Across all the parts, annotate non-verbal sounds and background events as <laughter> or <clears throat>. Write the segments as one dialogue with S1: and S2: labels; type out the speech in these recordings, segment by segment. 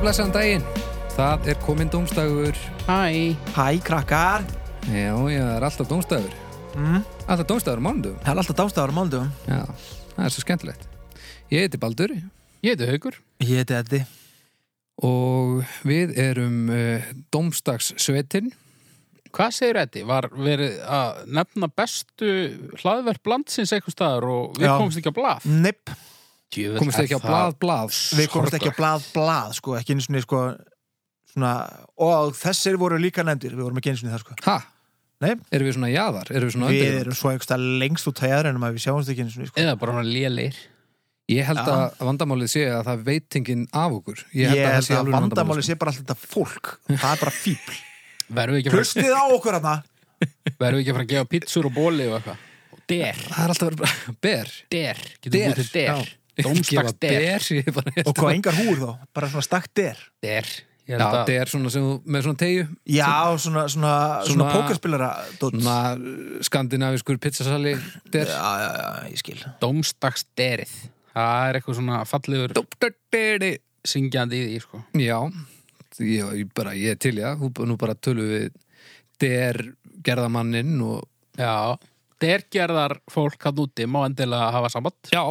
S1: blessaðan daginn. Það er kominn dómstagur.
S2: Hæ,
S3: Hæ, krakkar.
S1: Já, já, það er alltaf dómstagur.
S3: Mm.
S1: Alltaf dómstagur á mánudum.
S3: Það er alltaf dástafar á máldugum.
S1: Já, það er svo skemmtilegt. Ég heiti Baldur
S2: ég heiti Haugur.
S3: Ég heiti Eddi.
S1: og við erum uh, dómstagssveitinn.
S2: Hvað segir Eddi? Var verið að nefna bestu hlaðverk blandsins eitthvað staðar og við
S3: Já.
S2: komumst ekki á blað?
S3: Nipp.
S2: Djöfull
S1: Komist Mm.
S2: er
S1: ekki á
S2: það-
S1: blað, blað.
S3: Við komumst ekki
S2: Sorglegt.
S3: á blað, blað, sko. Ekki einu sinni, sko, svona, og þessir voru líka nefndir. Við vorum ekki einu sinni það, sko.
S1: Ha?
S3: Nei.
S1: Erum við svona jaðar? Erum við svona
S3: Við
S1: undir?
S3: erum svo eitthvað lengst út að jæðra en að við sjáumst ekki einu sinni, sko.
S2: Eða bara hann lélir.
S1: Ég held
S3: Já.
S1: að vandamálið sé að það er veitingin af okkur.
S3: Ég held að,
S1: alvöru
S3: vandamáli
S1: sko.
S3: sé bara alltaf þetta <laughs> fólk. Það er bara fíbl.
S2: Verðum við ekki, að
S3: Hlustið á okkur hana.
S2: fara- verðum við ekki að fara að gefa pítsur og bóli og eitthvað? Og der,
S1: Það er alltaf bara ber.
S2: der, getum
S1: Der,
S2: við til der.
S1: Gefa
S2: Dómstags der.
S1: ber. <laughs> Ég er bara
S3: Og hvað engar húr þá? Bara svona stakkt der.
S2: Der. Ég held
S1: Já,
S2: að-
S1: der svona sem, þú- með svona tegju.
S3: Já, svona, svona, svona,
S1: Svona-
S3: pókerspilara. dót.
S1: svona skandinaviskur pizzasali der
S3: Já, já, já, ég skil.
S2: Dómstagsderið. Það er eitthvað svona fallegur
S1: Dóptarderi.
S2: syngjandi í því, sko.
S1: Já, ég, ég bara, ég er til já Hú- nú bara tölu við der gerðamanninn og
S2: Já. Dergerðar fólk hann úti má endilega hafa samband.
S1: já,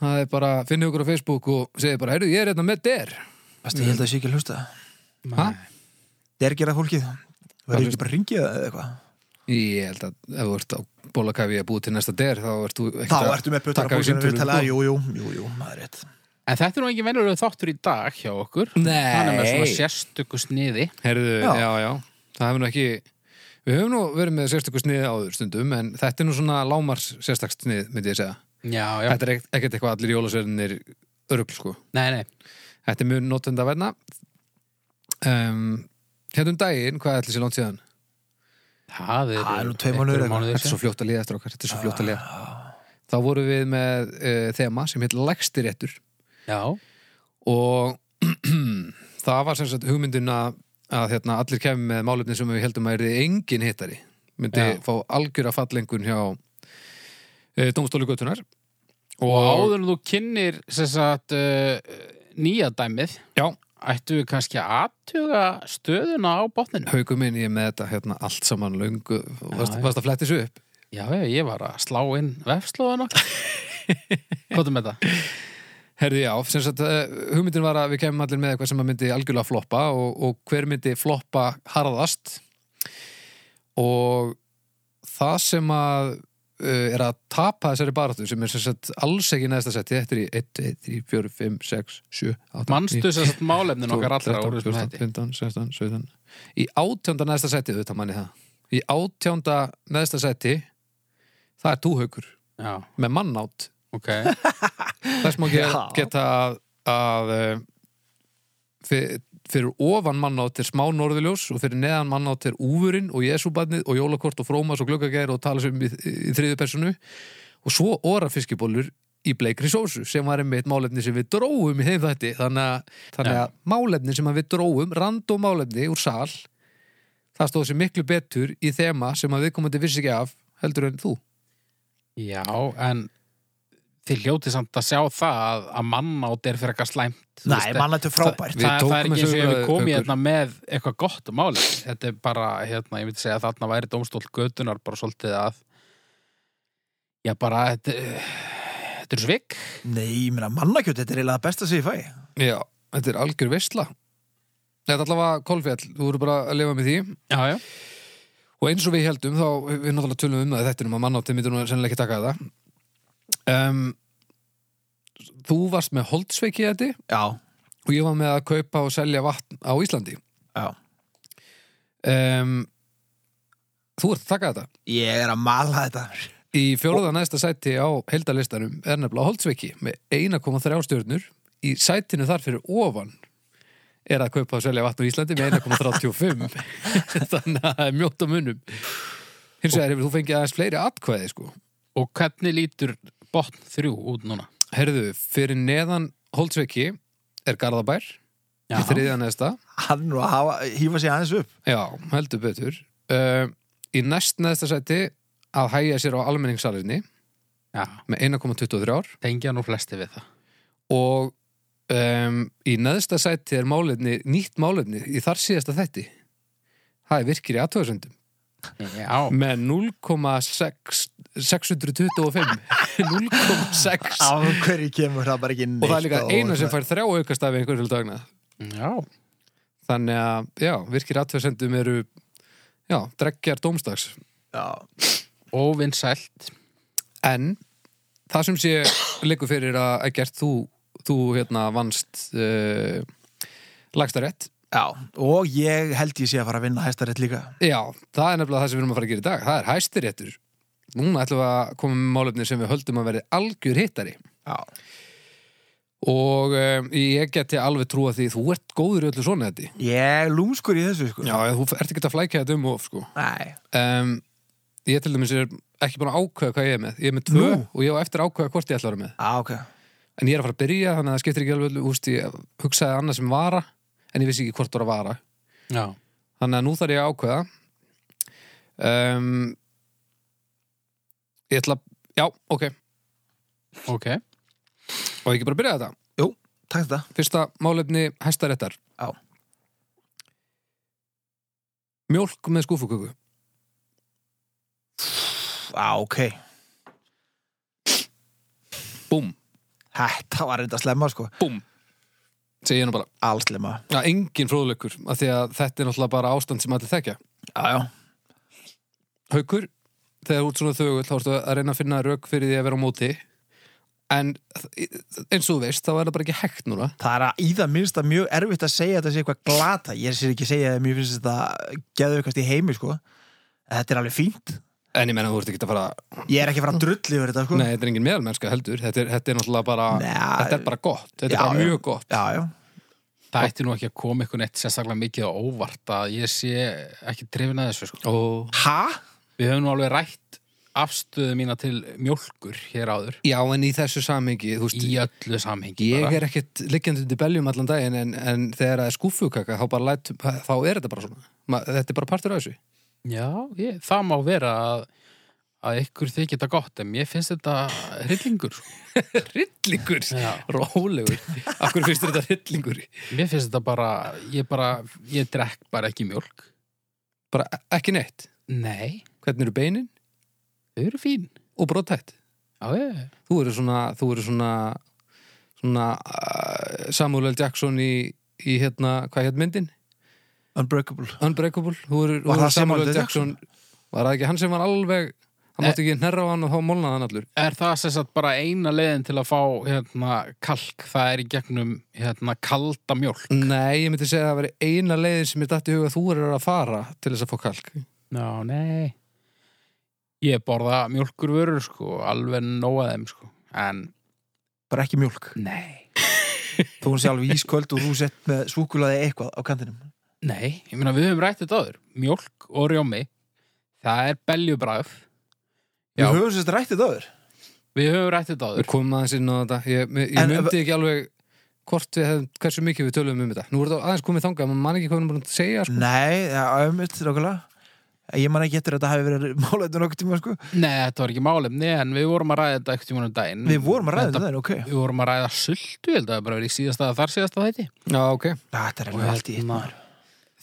S1: það er bara, finnið okkur á Facebook og segið bara, heyrðu, ég er hérna með der
S3: Vestu, ég held að sé ekki að hlusta.
S1: ha?
S3: dergera fólkið verður ekki bara að ringja eða eitthvað
S1: Ég held að ef þú ert á bólakafi að búið til næsta der þá ert þú ekkert
S3: þá
S1: að
S3: ertu með puttana
S1: taka við
S3: fólkið
S1: símtölum,
S3: við tala,
S1: sko.
S3: jú, jú, jú, jú, maður er rétt
S2: En þetta er nú ekki venjulegu þáttur í dag hjá okkur. Hann er með svona
S1: Nei,
S2: sérstöku sniði.
S1: heyrðu, já.
S3: Já.
S1: já, það hefur nú ekki Við höfum nú verið með sérstöku sniði áður stundum en þetta er nú svona lámars sérstakst snið, myndi ég segja
S2: Já, já.
S1: Þetta er ekk- ekkert eitthvað allir jólasverðinir örugl sko.
S2: Nei, nei.
S1: Þetta er mjög notenda verna. Um, hérna um daginn, hvað ætli sér langt síðan?
S2: Það er,
S3: Það er nú tveir mánuðir eitthvað.
S2: mánuðir
S1: Þetta er
S2: síðan.
S1: svo fljótt að liða eftir okkar, þetta er svo fljótt að liða. Þá vorum við með uh, þema sem heit lægstiréttur
S2: Já,
S1: og <clears throat> það var sem sagt hugmyndin að, að hérna, allir kemur með málefni sem við heldum að er engin hittari. Myndi
S2: Já.
S1: fá algjöra fallengun hjá uh, Dómstóli Götunar.
S2: og áður en þú kynir sem sagt uh, nýja dæmið,
S1: Já,
S2: ættu við kannski að athuga stöðuna á botninu.
S1: haukum minn ég er með þetta hérna, allt saman löngu, varst,
S2: já.
S1: varst að fletti svo upp?
S2: Já, já, ég var að slá inn
S1: <laughs>
S2: vefslóðan okkar. Hvað er með það?
S1: Herði já, sem sagt, eh, hugmyndin var að við kemum allir með eitthvað sem að myndi algjörlega floppa og, og hver myndi floppa harðast og það sem að uh, er að tapa þessari baráttu sem er sem sagt alls ekki neðsta setti þetta er í 1, 2, 3, 4, 5, 6, 7, 8,
S2: Manstu sem sagt málefnin
S1: 12,
S2: okkar allra
S1: 13,
S2: úr þessum
S1: 14,
S2: þetta.
S1: 15, 16, 17 í átjönda neðsta setti auðvitað manni það í átjönda neðsta setti það er túhaukur
S2: Já,
S1: með mannátt
S2: ok.
S1: þess má get,
S3: Já.
S1: geta að, að eh, fyr- fyrir ofan mannátt er smá norðuljós og fyrir neðan mannátt er úfurinn og jesúbarnið og jólakort og frómas og glöggagæðir og tala sem í, í þriðu personu og svo orafiskibólur í bleikri sósu sem var einmitt málefni sem við dróum í þeim þætti þannig að, þannig að málefni sem að við dróum random málefni úr sal það stóð sér miklu betur í þema sem að við komandi vissi ekki af heldur en þú
S2: Já, en þið hljótið samt að sjá það að, að mannátt er fyrir eitthvað slæmt. þú
S3: Nei,
S2: veist,
S3: mannættu frábært
S1: Við
S2: Þa, það er
S1: tókum
S2: ekki eins og
S1: þessu
S2: ég hefði
S1: umræðu, Haukur.
S2: komið hérna með eitthvað gott máli þetta er bara, hérna, ég myndi segja að þarna væri dómstól götunar bara svolítið að já bara þetta, þetta er svik
S3: Nei, ég meina, mannakjöt, þetta er eiginlega það besta sem ég fæ
S1: Já, þetta er algjör veistla Þetta er allavega kolfjall, þú voru bara að lifa með því
S2: já, já.
S1: og eins og við heldum þá, við náttúrulega tölum um það þetta um að mannáttið myndir nú sennilega ekki taka þetta um, Þú varst með holdsveiki þetta
S3: Já,
S1: og ég var með að kaupa og selja vatn á Íslandi
S3: já
S1: um, Þú ert að taka þetta
S3: Ég er að mala þetta
S1: Í fjóruða næsta sæti á heldalistanum er nefnilega Holtzviki með 1,3 stjörnur. Í sætinu þar fyrir ofan er að kaupa og selja vatn á Íslandi með 1,35. <laughs> Þannig að það er mjótt á munum. Hins vegar hefur þú fengið aðeins fleiri atkvæði sko.
S2: og hvernig lítur botn þrjú út núna
S1: Herðu, fyrir neðan Holtzviki er Garðabær
S2: já,
S1: í þriðja næsta.
S3: Hann nú að hafa, hýfa sig aðeins upp
S1: Já, heldur betur. Uh, í næst næsta sæti að hæja sér á almenningssalinni
S2: já,
S1: með 1,23 ár.
S2: tengja nú flesti við það
S1: og um, í neðsta sæti er málefni, nýtt málefni í þar síðasta þetti það er virkir í aðtöðasöndum
S2: Já,
S1: með 0,625 0,6
S3: Af hverju kemur það bara ekki neitt
S1: og það er líka
S3: á-
S1: eina sem fær þrjá aukast af einhverjum dagna
S2: já
S1: þannig að, já, virkir aðtöðasöndum eru já, dreggjar dómstags
S3: Já,
S2: óvinsælt
S1: en það sem sé leikur fyrir að ekkert þú, þú hérna vannst uh, lagstarétt
S3: já, og ég held ég sé að fara að vinna hæstarétt líka
S1: Já, það er nefnilega það sem við erum að fara að gera í dag. Það er hæstiréttur. Núna ætlum við að koma með málefni sem við höldum að verði algjör hittari.
S3: Já,
S1: Og um, ég geti alveg trúa því þú ert góður í öllu svona þetta.
S3: ég er lúmskur í þessu sko
S1: Já, eða þú ert ekki að flækja þetta um of, sko.
S3: Nei,
S1: Um, ég til dæmis er ekki búin að ákveða hvað ég er með. Ég er með tvö
S3: Nú?
S1: og ég á eftir að ákveða hvort ég ætla að vera með.
S3: á, ok
S1: En ég er að fara að byrja, þannig að það skiptir ekki alveg, öllu, úst, ég hugsaði annað sem vara, en ég vissi ekki hvort það var að vara.
S2: Já,
S1: Þannig að nú þarf ég að ákveða um, Ég ætla Já, ok,
S2: ok
S1: og ekki bara byrja þetta
S3: Jú, takk þetta
S1: Fyrsta málefni hæstaréttar
S3: Já.
S1: Mjólk með skúfuköku
S3: Á, ok
S1: Búm,
S3: Þetta var reynda slemma sko
S1: segi ég nú bara
S3: Allslemma
S1: Já, engin fróðleikur, af því að þetta er náttúrulega bara ástand sem allir þekja
S3: Já, já
S1: Haukur, þegar þú ert svona þögull þá ertu að reyna að finna rauk fyrir því að vera á móti en eins og þú veist, þá er það bara ekki hægt núna
S3: Það er að í það minnsta mjög erfitt að segja að þetta sé eitthvað glata. Ég sé ekki segja að mér finnst þetta geðaukast í heimi, sko. En Þetta er alveg fínt.
S1: En ég menna þú ert ekki að fara
S3: Ég er ekki að fara að drulli yfir þetta, sko.
S1: Nei, þetta er engin meðalmennska heldur Þetta er, þetta er náttúrulega bara
S3: Nei.
S1: Þetta er bara gott, þetta er
S3: Já,
S1: bara
S3: já.
S1: mjög gott
S3: Já, já.
S2: Það ætti nú ekki að koma ykkur neitt sérstaklega mikið á óvart að ég sé ekki trefin að þessu sko.
S1: Og...
S3: Ha?
S2: Við höfum nú alveg rætt afstöðu mína til mjólkur hér áður
S1: Já, en í þessu samhengi þú veist,
S2: í öllu samhengi
S1: Ég
S2: bara.
S1: er ekkert liggjandi undir beljum allan daginn en, en þegar það er skúfukaka þá, bara læt, þá er þetta bara svona Ma, Þetta er bara partur <laughs> af þessu
S2: Já, ég, það má vera að, að ykkur þykir þetta gott en mér finnst þetta hryllingur sko.
S1: Rillingur,
S2: Já.
S1: rólegur Af hverju finnst þér þetta rillingur?
S2: Mér finnst þetta bara ég, bara, ég drekk bara ekki mjólk
S1: Bara e- ekki neitt
S2: Nei,
S1: Hvernig eru beinin
S2: þau eru fín
S1: og brotætt
S2: Já, ég,
S1: Þú eru svona, þú eru svona, svona uh, Samuel L. Jackson í, í hérna, hvað hétt myndin?
S3: Unbreakable.
S1: Unbreakable Þú eru,
S3: Var
S1: þú eru
S3: það Samuel
S1: Samuel L.
S3: L.
S1: Jackson Var það ekki hann sem var alveg Það mátti ekki hnerra á hann og þá molnaði hann allur
S2: Er það sem sagt bara eina leiðin til að fá hérna, kalk, það er í gegnum hérna, kalda mjólk
S1: Nei, ég myndi segja að það veri eina leiðin sem ég datt í huga að þú eru að fara til þess að fá kalk
S2: Ná, nei Ég borða mjólkurvörur sko, alveg nóa þeim sko En,
S3: Bara ekki mjólk.
S2: nei
S3: Þú hún sé alveg ísköld og þú sett með súkulaði eitthvað á kantinum.
S2: Nei, ég meina við höfum rætt þetta áður Mjólk og rjómi Það er beljubræð Já.
S3: Við höfum sérst rættið öður.
S2: Við höfum rætt þetta
S1: Við
S2: áður
S1: komum aðeins inn á þetta Ég, ég
S3: En-
S1: myndi ekki alveg hvort við hefum, hversu mikið við tölum um þetta Nú er þetta aðeins komið þangað, maður man ekki hvað hann búin að segja sko.
S3: Nei, það er mitt, okkarlega. Ég man ekki eftir að þetta hafi verið málætun okkur tíma, sko.
S2: Nei, þetta var ekki málefni En við vorum að ræða þetta ekkert tímanum daginn
S3: Við vorum að ræða
S2: þetta
S3: þetta, um ok.
S2: Við vorum að ræða sultu, ég held að það bara verið í síðasta þar síðasta þætti
S1: Já, ok
S3: Þetta er
S2: Og
S3: alveg allt í.
S2: hérna,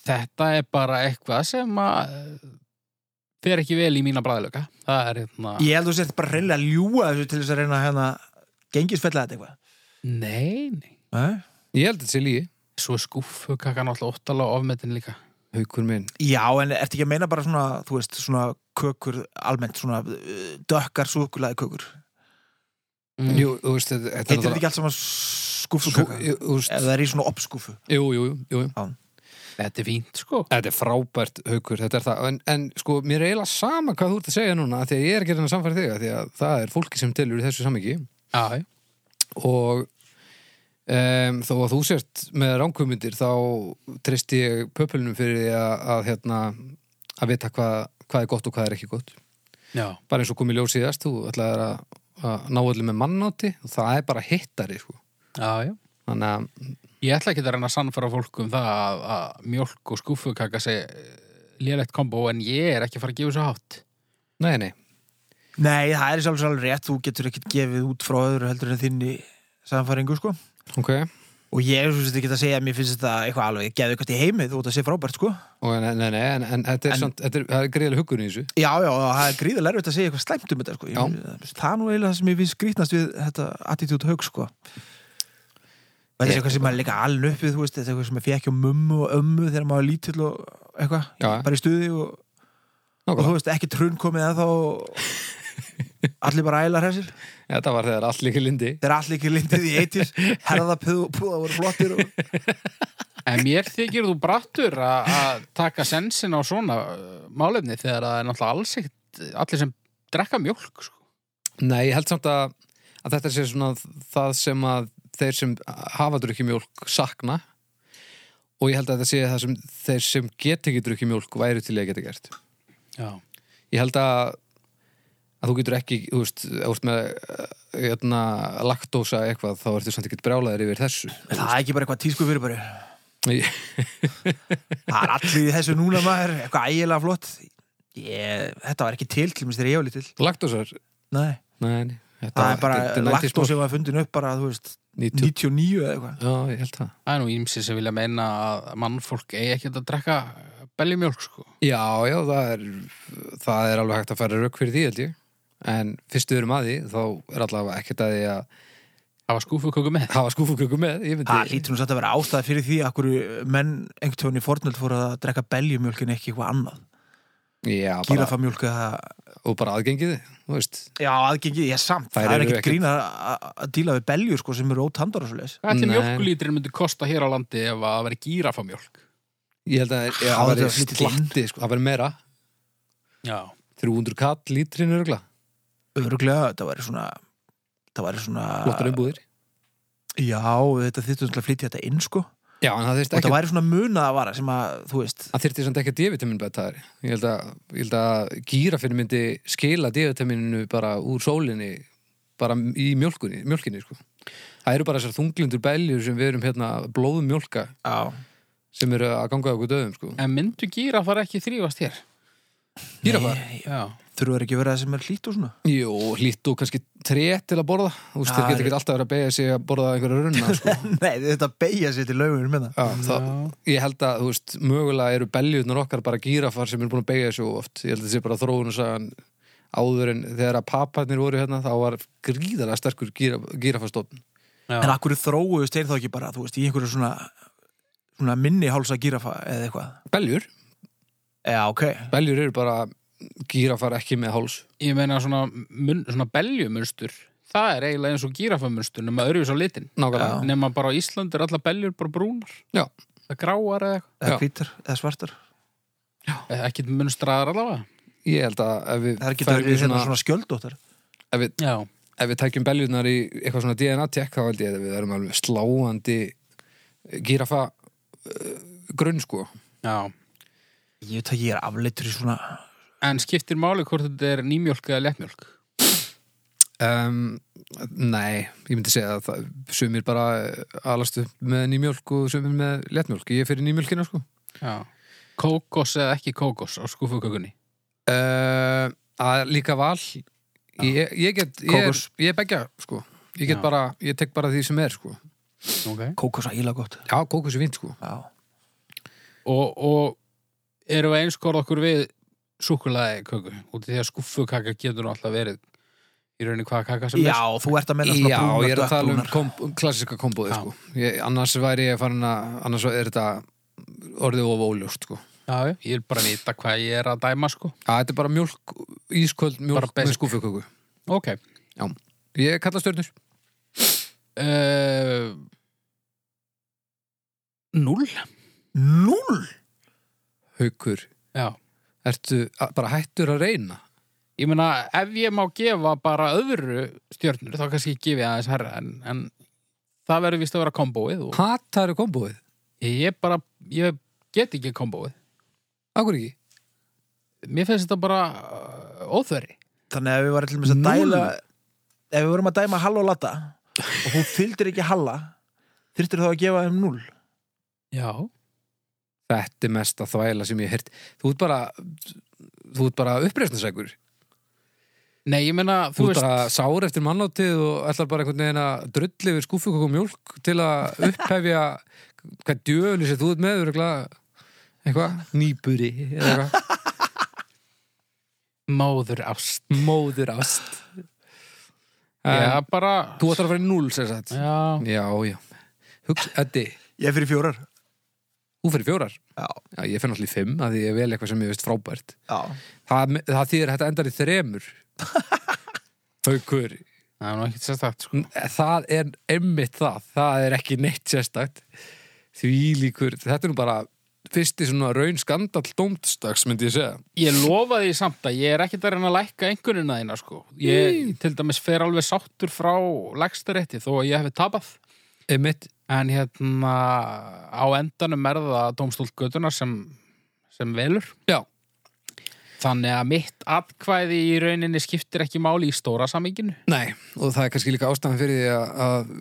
S2: Þetta er bara eitthvað sem að eh, fer ekki vel í mína bræðlöka Það er hérna
S3: Ég held þú sért bara reynilega að ljúga þessu til þess að reyna að hérna gengisfella þetta eitthvað.
S2: Nei, nei
S3: Nei?
S1: Ég held að þetta sé lígi
S2: Svo er skúfukakkan alltaf óttalega ofmetin líka
S1: Haukur minn
S3: Já, en ertu ekki að meina bara svona, þú veist, svona kökur almennt, svona uh, dökkar súkulaði kökur?
S1: Jú, þú veist, þetta, þetta
S3: Mm. Heitir þetta ekki allt saman skúfukökur?
S1: Jú, þú veist,
S3: Ef það er í svona obskúfu?
S1: jú, jú, jú, jú.
S2: Þetta er fínt, sko
S1: Þetta er frábært haukur, þetta er það en, en sko, mér er eiginlega sama hvað þú ert að segja núna af því að ég er ekki að reyna að samfæra þig af því að það er fólki sem telur í þessu samhengi
S2: Já,
S1: og um, þó að þú sért með ránkumundir þá treysti ég pöpulunum fyrir því að, að hérna að vita hvað, hvað er gott og hvað er ekki gott
S2: já
S1: bara eins og komið ljóð síðast, þú ætlaðir að, að ná allir með mannátti og það er bara hittari sko.
S2: Já, já.
S1: þannig að,
S2: Ég ætla ekki að reyna að sannfæra fólk um það að, að mjólk og skúfukaka sé eh, lélegt kombo en ég er ekki að fara að gefa svo hátt.
S1: nei, nei
S3: Nei, það er í sjálfsög alveg rétt, þú getur ekkert gefið út frá öðru heldur en þinni samfæringu, sko.
S1: ok,
S3: og ég er svo sem þetta geta að segja að mér finnst þetta eitthvað alveg geðu eitthvað í heimið út að sé frábært sko
S1: og en, en, en, en, en þetta er,
S3: En-
S1: samt, þetta er, það er greiðlega huggun í þessu
S3: já, já, og það er gríðarlega erfitt að segja eitthvað slæmt um þetta sko
S1: Já.
S3: ég, það er nú eiginlega það sem ég finnst skrýtnast við þetta attitude hug sko þetta er eitthvað sem maður líka aln upp við þú veist, þetta er eitthvað sem maður fekk hjá mummu og ömmu þegar maður var lítill og eitthvað
S1: Já, já.
S3: bara í stuði og, og
S1: Nákvæmlega.
S3: þú veist, ekki trunn komið ennþá og allir bara ælar hessir
S1: Þetta var þegar allt líka lindi
S3: þeir allir ekki lindið í eittis herðapúða voru flottir og
S2: En mér þykir þú brattur að að taka sensin á svona uh, málefni þegar það er náttúrulega alls ekkert eh, allir sem drekka mjólk sko.
S1: Nei, ég held samt að, að þetta sé svona það sem að þeir sem hafa drukkjumjólk sakna og ég held að þetta sé það sem þeir sem get ekki drukkjumjólk væri til í að geta gert
S2: Já.
S1: Ég held að að þú getur ekki, þú veist, ef þú ert með eh, hérna, laktósa eitthvað þá ertu samt ekki brjálaðir yfir þessu
S3: það er ekki bara eitthvað tísku fyrir bara
S1: Ég- <laughs>
S3: Það er allir í þessu núna maður, eitthvað ægilega flott ég, Þetta var ekki til til mér þegar ég var lítill
S1: Laktósar?
S3: Nei,
S1: Nei, nei, þetta
S3: það er
S1: þetta
S3: bara
S1: er 90s
S3: lagt og sem var fundin upp bara, þú veist,
S1: 90
S3: 99 eða eitthvað
S1: Já, ég held það
S2: Það er nú ímsi sem vilja meina að mannfólk eigi ekkert að drekka beljumjólk sko.
S1: Já, já, það er, það er alveg hægt að fara rauk fyrir því, held ég. En fyrst við erum að því, þá er allavega ekkert að því að
S2: Það var skúfuköku með.
S1: hafa skúfuköku með, ég myndi.
S3: Það lítur nú satt að vera ástæða fyrir því að hverju menn einhvern tóni fornöld fóru að drekka beljumjólk en ekki eitthvað annað
S1: Já, bara,
S3: Gírafamjólk eða,
S1: og bara aðgengið, þú veist.
S3: já aðgengið, ég samt
S1: Þær
S3: Það er
S1: eru
S3: ekkert
S1: ekkert-
S3: grín að að- að díla við beljur sko sem eru ótandar og svo leis
S2: Hvað ætli
S1: Nei.
S2: mjólkulítrin myndi kosta hér á landi ef að það veri gírafamjólk?
S1: Ég held að já,
S3: Há,
S1: það
S3: þetta
S1: væri
S3: var lítið inn.
S1: slatti, sko, það væri meira.
S2: Já.
S1: 300 kall lítrin örgla,
S3: Örglega, það væri svona Það væri svona
S1: flottar umbúðir.
S3: Já, þetta þýttu náttúrulega að flytja þetta inn sko
S1: Já, en það þyrst
S3: Og það
S1: ekki,
S3: væri svona munaða vara sem að, þú veist
S1: það þyrst samt ekki að divitamin bætaðari. Ég held að, ég held að gírafinn myndi skila divitaminu bara úr sólinni, bara í mjölkunni, mjölkinni, sko. Það eru bara þessar þunglindur beljur sem við erum hérna blóðum mjölka
S3: Já,
S1: sem eru að ganga okkur döðum sko.
S2: En myndu gírafar ekki þrýfast hér?
S1: Gírafar?
S2: Já.
S3: þurfaður ekki að vera það sem er hlýtt og svona
S1: Jú, hlýtt og kannski tré til að borða Þú veist,
S3: Já,
S1: þeir geta
S3: þeir-
S1: ekki alltaf verið að beigja sig að borða einhverja runna sko.
S3: <laughs> Nei, þetta beigja sér til laugunum með
S1: Já, það, ég held að, þú veist, mögulega eru beljurnar okkar bara gírafar sem eru búin að beigja sig of oft, ég held að þessi bara þróun og sagan áður en þegar að papparnir voru hérna þá var gríðarlega sterkur gíraf, gírafastofn
S2: Já.
S3: En akkur þróuðust þeir þá ekki bara, þú veist, í einhverju svona, svona minni hálsa gírafa eða eitthvað
S1: Beljur?
S3: Já, ok
S1: Beljur eru bara gírafar ekki með háls
S2: Ég meina svona, mun, svona beljumunstur, það er eiginlega eins og gírafamunstur nema öðruvis á litin.
S1: Nákvæmlega,
S2: Nema bara á Íslandi er alla beljur bara brúnar.
S1: Já.
S2: Það er gráar eða eitthvað.
S1: Já.
S3: Eða hvítar, eða svartar
S2: Eh, Ekkert munstraðar allavega.
S1: ég held að ef við,
S3: Það er ekki
S1: ferum
S3: það
S1: í
S3: svona, svona, svona skjöldóttar
S1: ef við
S2: Já.
S1: ef við tækjum beljurnar í eitthvað svona DNA-tek þá held ég að við erum alveg sláandi gírafa uh, grunn sko
S2: Já.
S3: Ég veit að ég er afleittur í svona
S2: En skiptir máli hvort þetta er nýmjólk eða léttmjólk?
S1: um, Nei, ég myndi segja að það, sumir bara alastu með nýmjólk og sumir með léttmjólk ég er fyrir nýmjólkina sko
S2: Já. Kókos eða ekki kókos á skúfukökunni?
S1: uh, að líka val ég, ég get, ég er,
S3: Kókos.
S1: ég er begja sko ég get
S2: Já.
S1: bara, ég tek bara því sem er sko
S2: Ok.
S3: kókosa íla gott
S1: Já, kókus er fínt sko
S3: Já,
S2: Og, og erum við einskorð okkur við súkulaði köku? Út af því að skúfukaka getur nú alltaf verið í rauninni hvaða kaka sem
S3: Já þú ert að menna svona
S1: Já,
S3: brúnar,
S1: ég er að tala um
S3: dökkbrúnar.
S1: kom, um klassiska komboði
S2: Já.
S1: sko. ég, annars væri ég farin að annars er þetta orðið of óljóst sko.
S2: Já, já, ég vil bara vita hvað ég er að dæma sko.
S1: að þetta er bara mjölk, ísköld
S2: Bara
S1: mjölk
S2: basic.
S1: með skúfuköku
S2: Ok.
S1: ég kalla stjörnur,
S2: Uh, null?
S3: Núll
S1: haukur
S2: Já.
S1: ertu að- bara hættur að reyna
S2: Ég meina, ef ég má gefa bara öðru stjörnur, þá kannski gefi ég aðeins herra, en, en það verður vist að vera kombóið og
S1: hattaru komboðið,
S2: ég bara, ég get ekki kombóið.
S1: akkur ekki
S2: Mér finnst þetta bara uh, óþveri.
S3: Þannig að ef við varum til þess að
S1: Núll.
S3: dæla Ef við vorum að dæma hall og latta og þú fylgdir ekki halla þyrftir þá að gefa þeim núll
S2: Já.
S1: þetta er mesta þvæla sem ég heirt þú ert bara þú ert bara uppreisnarsækur
S2: Nei, ég meina,
S1: Þú
S2: þú
S1: er
S2: veist
S1: bara sár eftir mannátið og ætlar bara einhvern veginn að drulli yfir skúfukokk og mjólk til að upphefja <laughs> hvað djöfli sem þú ert með örugglega, eitthvað, nýburi eða eitthvað,
S2: Móður ást
S1: móður ást
S2: Já,
S1: En
S2: bara
S1: Þú ætlar að fara í núl, sér sagt
S2: Já,
S1: Já, já Hugsa, Eddi,
S3: Ég er fyrir fjórar
S1: þú fyrir fjórar
S3: Já,
S1: Já, ég finn allir fimm að því ég vel eitthvað sem ég veist frábært
S3: já
S1: Það, það þýðir að þetta endar í þremur Haukur
S2: það er nú ekkert sérstakt sko.
S1: það er emmitt það það er ekki neitt sérstakt því líkur, þetta er nú bara fyrsti svona raun skandall dómstags myndi ég segja
S2: Ég lofa því samt að ég er ekkert að reyna að lækka einhvernina þína, sko Ég, til dæmis, fer alveg sáttur frá lægstarétti þó að ég hefði tapað
S1: emmitt,
S2: En hérna, á endanum er það dómstólt götuna sem, sem velur.
S1: já,
S2: Þannig að mitt atkvæði í rauninni skiptir ekki máli í stóra saminginu.
S1: nei og það er kannski líka ástæðan fyrir því að, að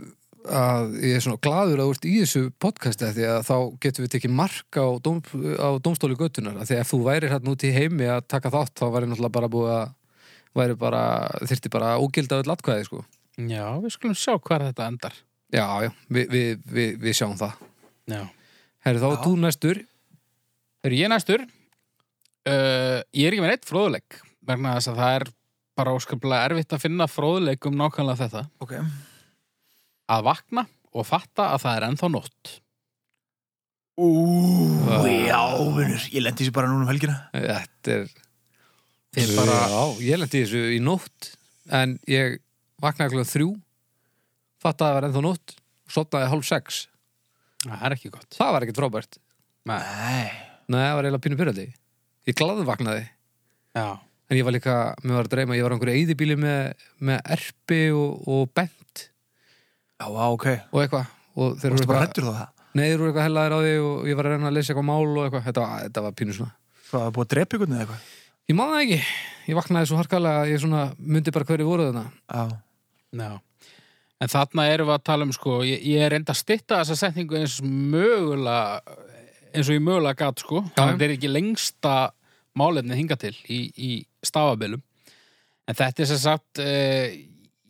S1: að ég er svona gladur að þú ert í þessu podcasti af því að þá getum við tekið mark á, dóm, á dómstóli göttunar af því að ef þú værir hérna út í heimi að taka þátt þá væri náttúrulega bara búið að væri bara, þyrfti bara að ógilda öll atkvæði sko.
S2: Já, við skulum sjá hvar þetta endar.
S1: já, já, við, við, við, við sjáum það
S2: Já.
S1: herri þá,
S3: Já.
S1: já. þú næstur
S2: Þegar ég næstur, uh, ég er ekki með neitt fróðuleik vegna þess að það er bara óskaplega erfitt að finna fróðuleik um nákvæmlega þetta.
S3: Ok
S2: Að vakna og fatta að það er ennþá nótt.
S3: Ú, já, vinnur Ég lendi þessu bara núna um helgina
S1: Þetta er
S2: Þið bara,
S1: Já, ég lendi í þessu í nótt en ég vaknaði klokkan þrjú fattaði að það var ennþá nótt sopnaði hálf sex
S2: það er ekki gott.
S1: það var ekkert frábært
S2: Nei.
S3: Nei
S1: Nei, það var eiginlega pínu pyrrandi Ég glaðu vaknaði
S2: Já.
S1: en ég var líka, mér var að dreyma ég var á einhverju eyðibíli með, með erpi og, og bent
S3: Já, vá, ok
S1: og eitthvað og þeir
S3: Þú
S1: eru
S3: ertu bara
S1: eitthvað,
S3: hættur þá það
S1: nei, þeir eru eitthvað hellaðir á því og ég var að reyna að leysa eitthvað mál og eitthvað þetta, var- þetta var pínu svona
S3: Frá að búa að drepa ykkur eða eitthvað
S1: Ég man það ekki, ég vaknaði svo harkalega að ég svona myndi bara hverju voru þarna
S3: Já,
S2: Já. En þarna erum við að tala um, sko, ég, ég er enda að stytta þessa setningu eins mögulega, eins og ég mögulega gat, sko.
S1: Já.
S2: Það er ekki lengsta málefnið hinga til í, í stafabilum. En þetta er sem sagt, uh,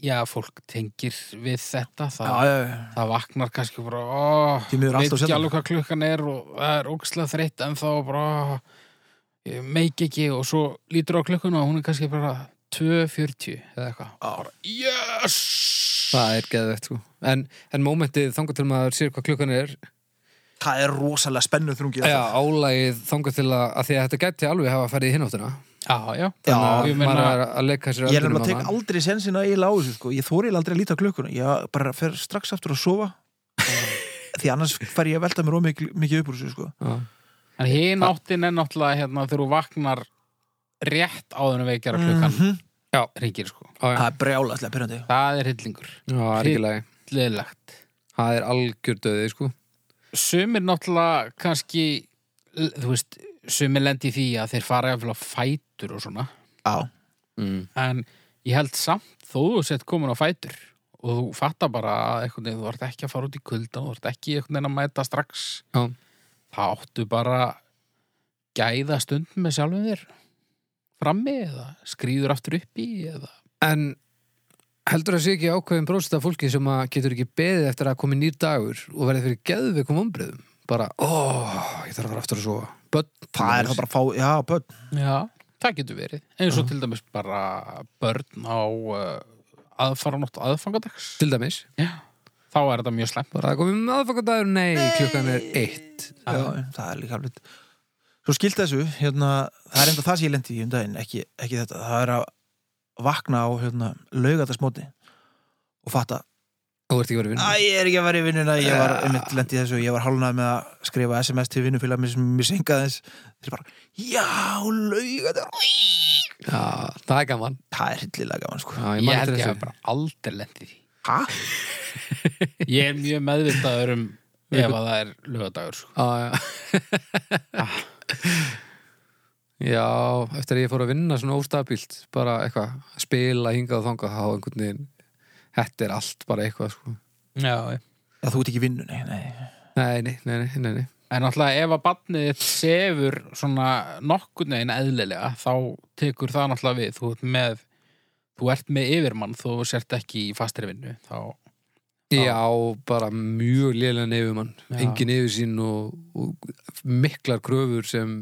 S2: já, fólk tengir við þetta.
S3: já,
S2: Það,
S3: já, já
S2: það vaknar kannski bara, ó,
S3: Því miður alltaf
S2: ekki
S3: sjaldan.
S2: alveg hvað klukkan er og það er ógislega þreytt en þá bara, ó, ég meik ekki og svo lítur á klukkuna og hún er kannski bara 2.40 eða eitthvað.
S3: Já,
S2: Yes!
S1: Það er geðvegt sko En, en mómentið þangað til maður sér hvað klukkan er
S3: Það er rosalega spennuð þrungið
S1: Já, álagið þangað til að, að því að þetta gæti alveg hafa farið í hináttina
S2: Já, já.
S1: Þannig
S3: Já,
S1: að
S2: ég meina-
S1: maður er að leika sér
S3: Ég er
S1: öllum
S3: nefnilega að
S1: hana.
S3: teka aldrei sensin að ég lágu þessu sko. Ég þóri aldrei að líta á klukkuna Ég bara fer strax aftur að sofa Því annars fær ég að velta mér of mikið, mikið upp úr þessu sko.
S1: Já.
S2: En hinn áttin er náttúrulega hérna, þegar þú vaknar rétt áður en veikjara klukkan mm
S3: Mhm.
S2: ringir, sko.
S1: Já, já.
S3: Það er brjálaslega pyrrandi
S2: Það er hillingur.
S1: Já, það er ekki lagi
S2: Leðilegt.
S1: Það er algjör döði sko
S2: Sumir náttúrulega kannski, l- þú veist, sumir lendi í því að þeir fara eftir á fætur og svona.
S3: Já,
S1: mm.
S2: En ég held samt þó þú sett komin á fætur og þú fattar bara að einhvern veginn þú ert ekki að fara út í kuldan, þú ert ekki einhvern veginn að mæta strax.
S1: Já.
S2: Það áttu bara gæða stund með sjálfum þér frammi eða skrýður aftur upp í eða
S1: En heldur það sé ekki ákveðin bróst af fólki sem að getur ekki beðið eftir að komi nýr dagur og verið fyrir geðveikum ombriðum bara, ó, ég þarf að fara aftur að sofa Bönn,
S3: það er það bara að fá Já, börn
S2: Já, það getur verið. Eins og til dæmis bara börn á uh, aðfaranótt aðfangadags.
S1: Til dæmis,
S2: Já. Þá er þetta mjög slemt.
S1: bara að komi meðfangadagur Nei, klukkan er eitt
S3: Já, það er líka alveg Svo skilt þessu, hérna Það er enda það sem ég lendi í um daginn ekki, ekki þetta, það er að vakna á hérna, laugatasmóti og fatta,
S1: Þú ert ekki verið
S3: að
S1: vinna
S3: ég er ekki að vera í vinnuna ég var
S1: Ja.
S3: einmitt lendi í þessu, ég var hálunað með að skrifa SMS til vinnufélag mér sem mér sengaði þess þeir bara, já, laugatas
S1: Já, það er gaman
S3: það er hillilega gaman, sko
S1: Já, ég,
S2: Ég
S1: man
S2: held
S1: eftir
S2: ég
S1: þessu.
S2: að bara aldrei lendi því.
S1: <laughs>
S3: Hæ?
S2: Ég er mjög meðvitaður um ef að það er lögadagur. Sko.
S1: Já, já.
S3: Ah.
S1: <laughs> já, eftir að ég fór að vinna svona óstabílt, bara eitthvað spila hingað og þangað, þá einhvern veginn þetta er allt bara eitthvað sko.
S2: Já.
S3: Já, þú ert ekki í vinnu, nei, nei
S1: Nei, nei, nei, nei, nei, nei.
S2: En náttúrulega ef að barnið þitt sefur svona nokkurn veginn eðlilega þá tekur það náttúrulega við. Þú ert með þú ert með yfirmann þó þú sért ekki í fastri vinnu þá, Já.
S1: Já, bara mjög lélega nefumann
S2: Já.
S1: engin yfirsýn og, og miklar kröfur sem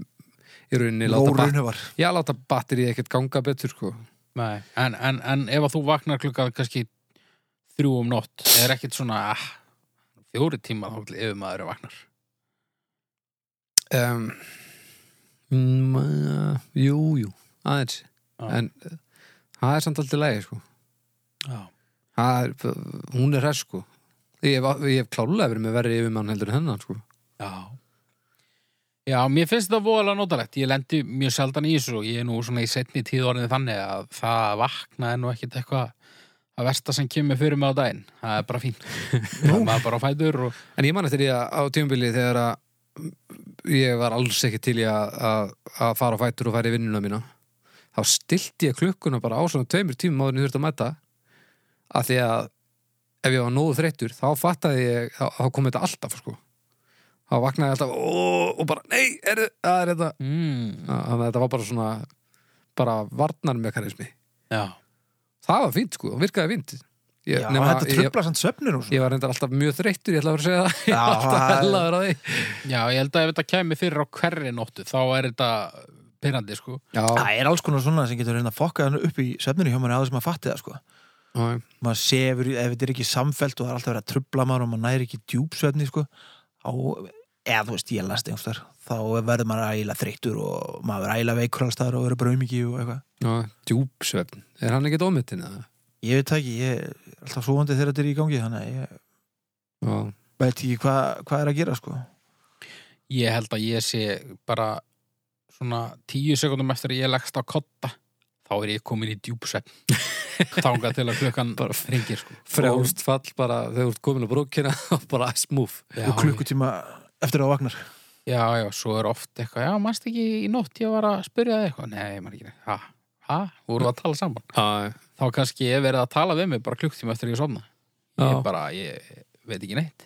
S1: í rauninni láta, bat,
S3: Lórunhöfar
S1: já, láta batteri ekkert ganga betur sko.
S2: nei, en, en, en ef að þú vaknar klukkan kannski þrjú um nótt er ekkit svona ah, fjóri tíma þá til yfirmaður vaknar
S1: um, mm, uh, Jú, jú aðeins,
S2: Já.
S1: en uh, það er samt alltaf lægi sko.
S2: Já.
S1: Það er, hún er hræð sko. ég, hef- ég hef klálega verið með verri yfirmann heldur en hennan sko.
S2: Já. Já, mér finnst þetta voðalega notalegt. Ég lendi mjög sjaldan í þessu og ég er nú svona í setni tíð orðið þannig að það að vakna er nú ekkit eitthvað að versta sem kemur fyrir mig á daginn. Það er bara fínt. Það er maður bara á fætur og...
S1: En ég man eftir því að á tímabili þegar að ég var alls ekki til í að, að, að fara á fætur og fara í vinnuna mína þá stilti ég klukkuna bara á svona tveimur tímum áður en ég þurfti að mæta af því að ef ég var nógu þreyttur þá fattaði ég, þá, þá kom þetta alltaf sko. þá vaknaði ég alltaf ó, og bara, nei, er, það er þetta
S2: Mm.
S1: þannig að þetta var bara svona bara varnarmekanismi
S2: Já.
S1: það var fínt sko, það virkaði fínt ég,
S3: Já,
S1: nema,
S3: þetta
S1: ég,
S3: trublar samt söfnir og svona
S1: ég var reyndar alltaf mjög þreyttur ég ætla að vera að segja það, <laughs> ég
S3: Já,
S1: var alltaf
S3: það-
S1: hellaður á því
S2: Já, ég held að ef þetta kemur fyrir á hverri nóttu þá er þetta pyrrandi, sko.
S1: Já,
S3: Það er alls konar svona sem getur reynda að fokka hann upp í söfninu hjá manni á þessum að fatti það sko
S1: já,
S3: maður sefur, í- ef þetta er ekki samfelt og það er alltaf verið að trubla maður og maður næri ekki djúpsvefni sko, á, eða þú veist ég last einhverstaðar, þá verður maður ægilega þreyttur og maður verður ægilega veikur allstaðar og verður bara umiki og eitthvað
S1: já, djúpsvefn Er hann ekkert ómittin eða?
S3: ég veit það ekki, ég er alltaf svoandi þegar þetta er í gangi þannig að ég
S1: Já,
S3: veit ekki hvað hva er að gera sko
S2: Ég held að ég sé bara svona tíu sekundum eftir að ég leggst á kotta þá er ég komin í djúpsvefn. <laughs> Þangað til að klukkan
S1: Bara-
S2: ringir, sko.
S1: frjálst fall bara þegar þú ert komin á brókina <laughs> og bara smúf
S2: Já,
S3: og klukkutíma eftir að þú vagnar
S2: Já, já, svo er oft eitthvað, já, mannst ekki í nótt ég var að spyrja þig eitthvað, nei, maður ekki, ha, ha, voru að tala saman.
S1: Já,
S2: Þá kannski ég hef verið að tala við mig bara klukktíma eftir ég sofna. Ég
S1: Já.
S2: bara, ég veit ekki neitt.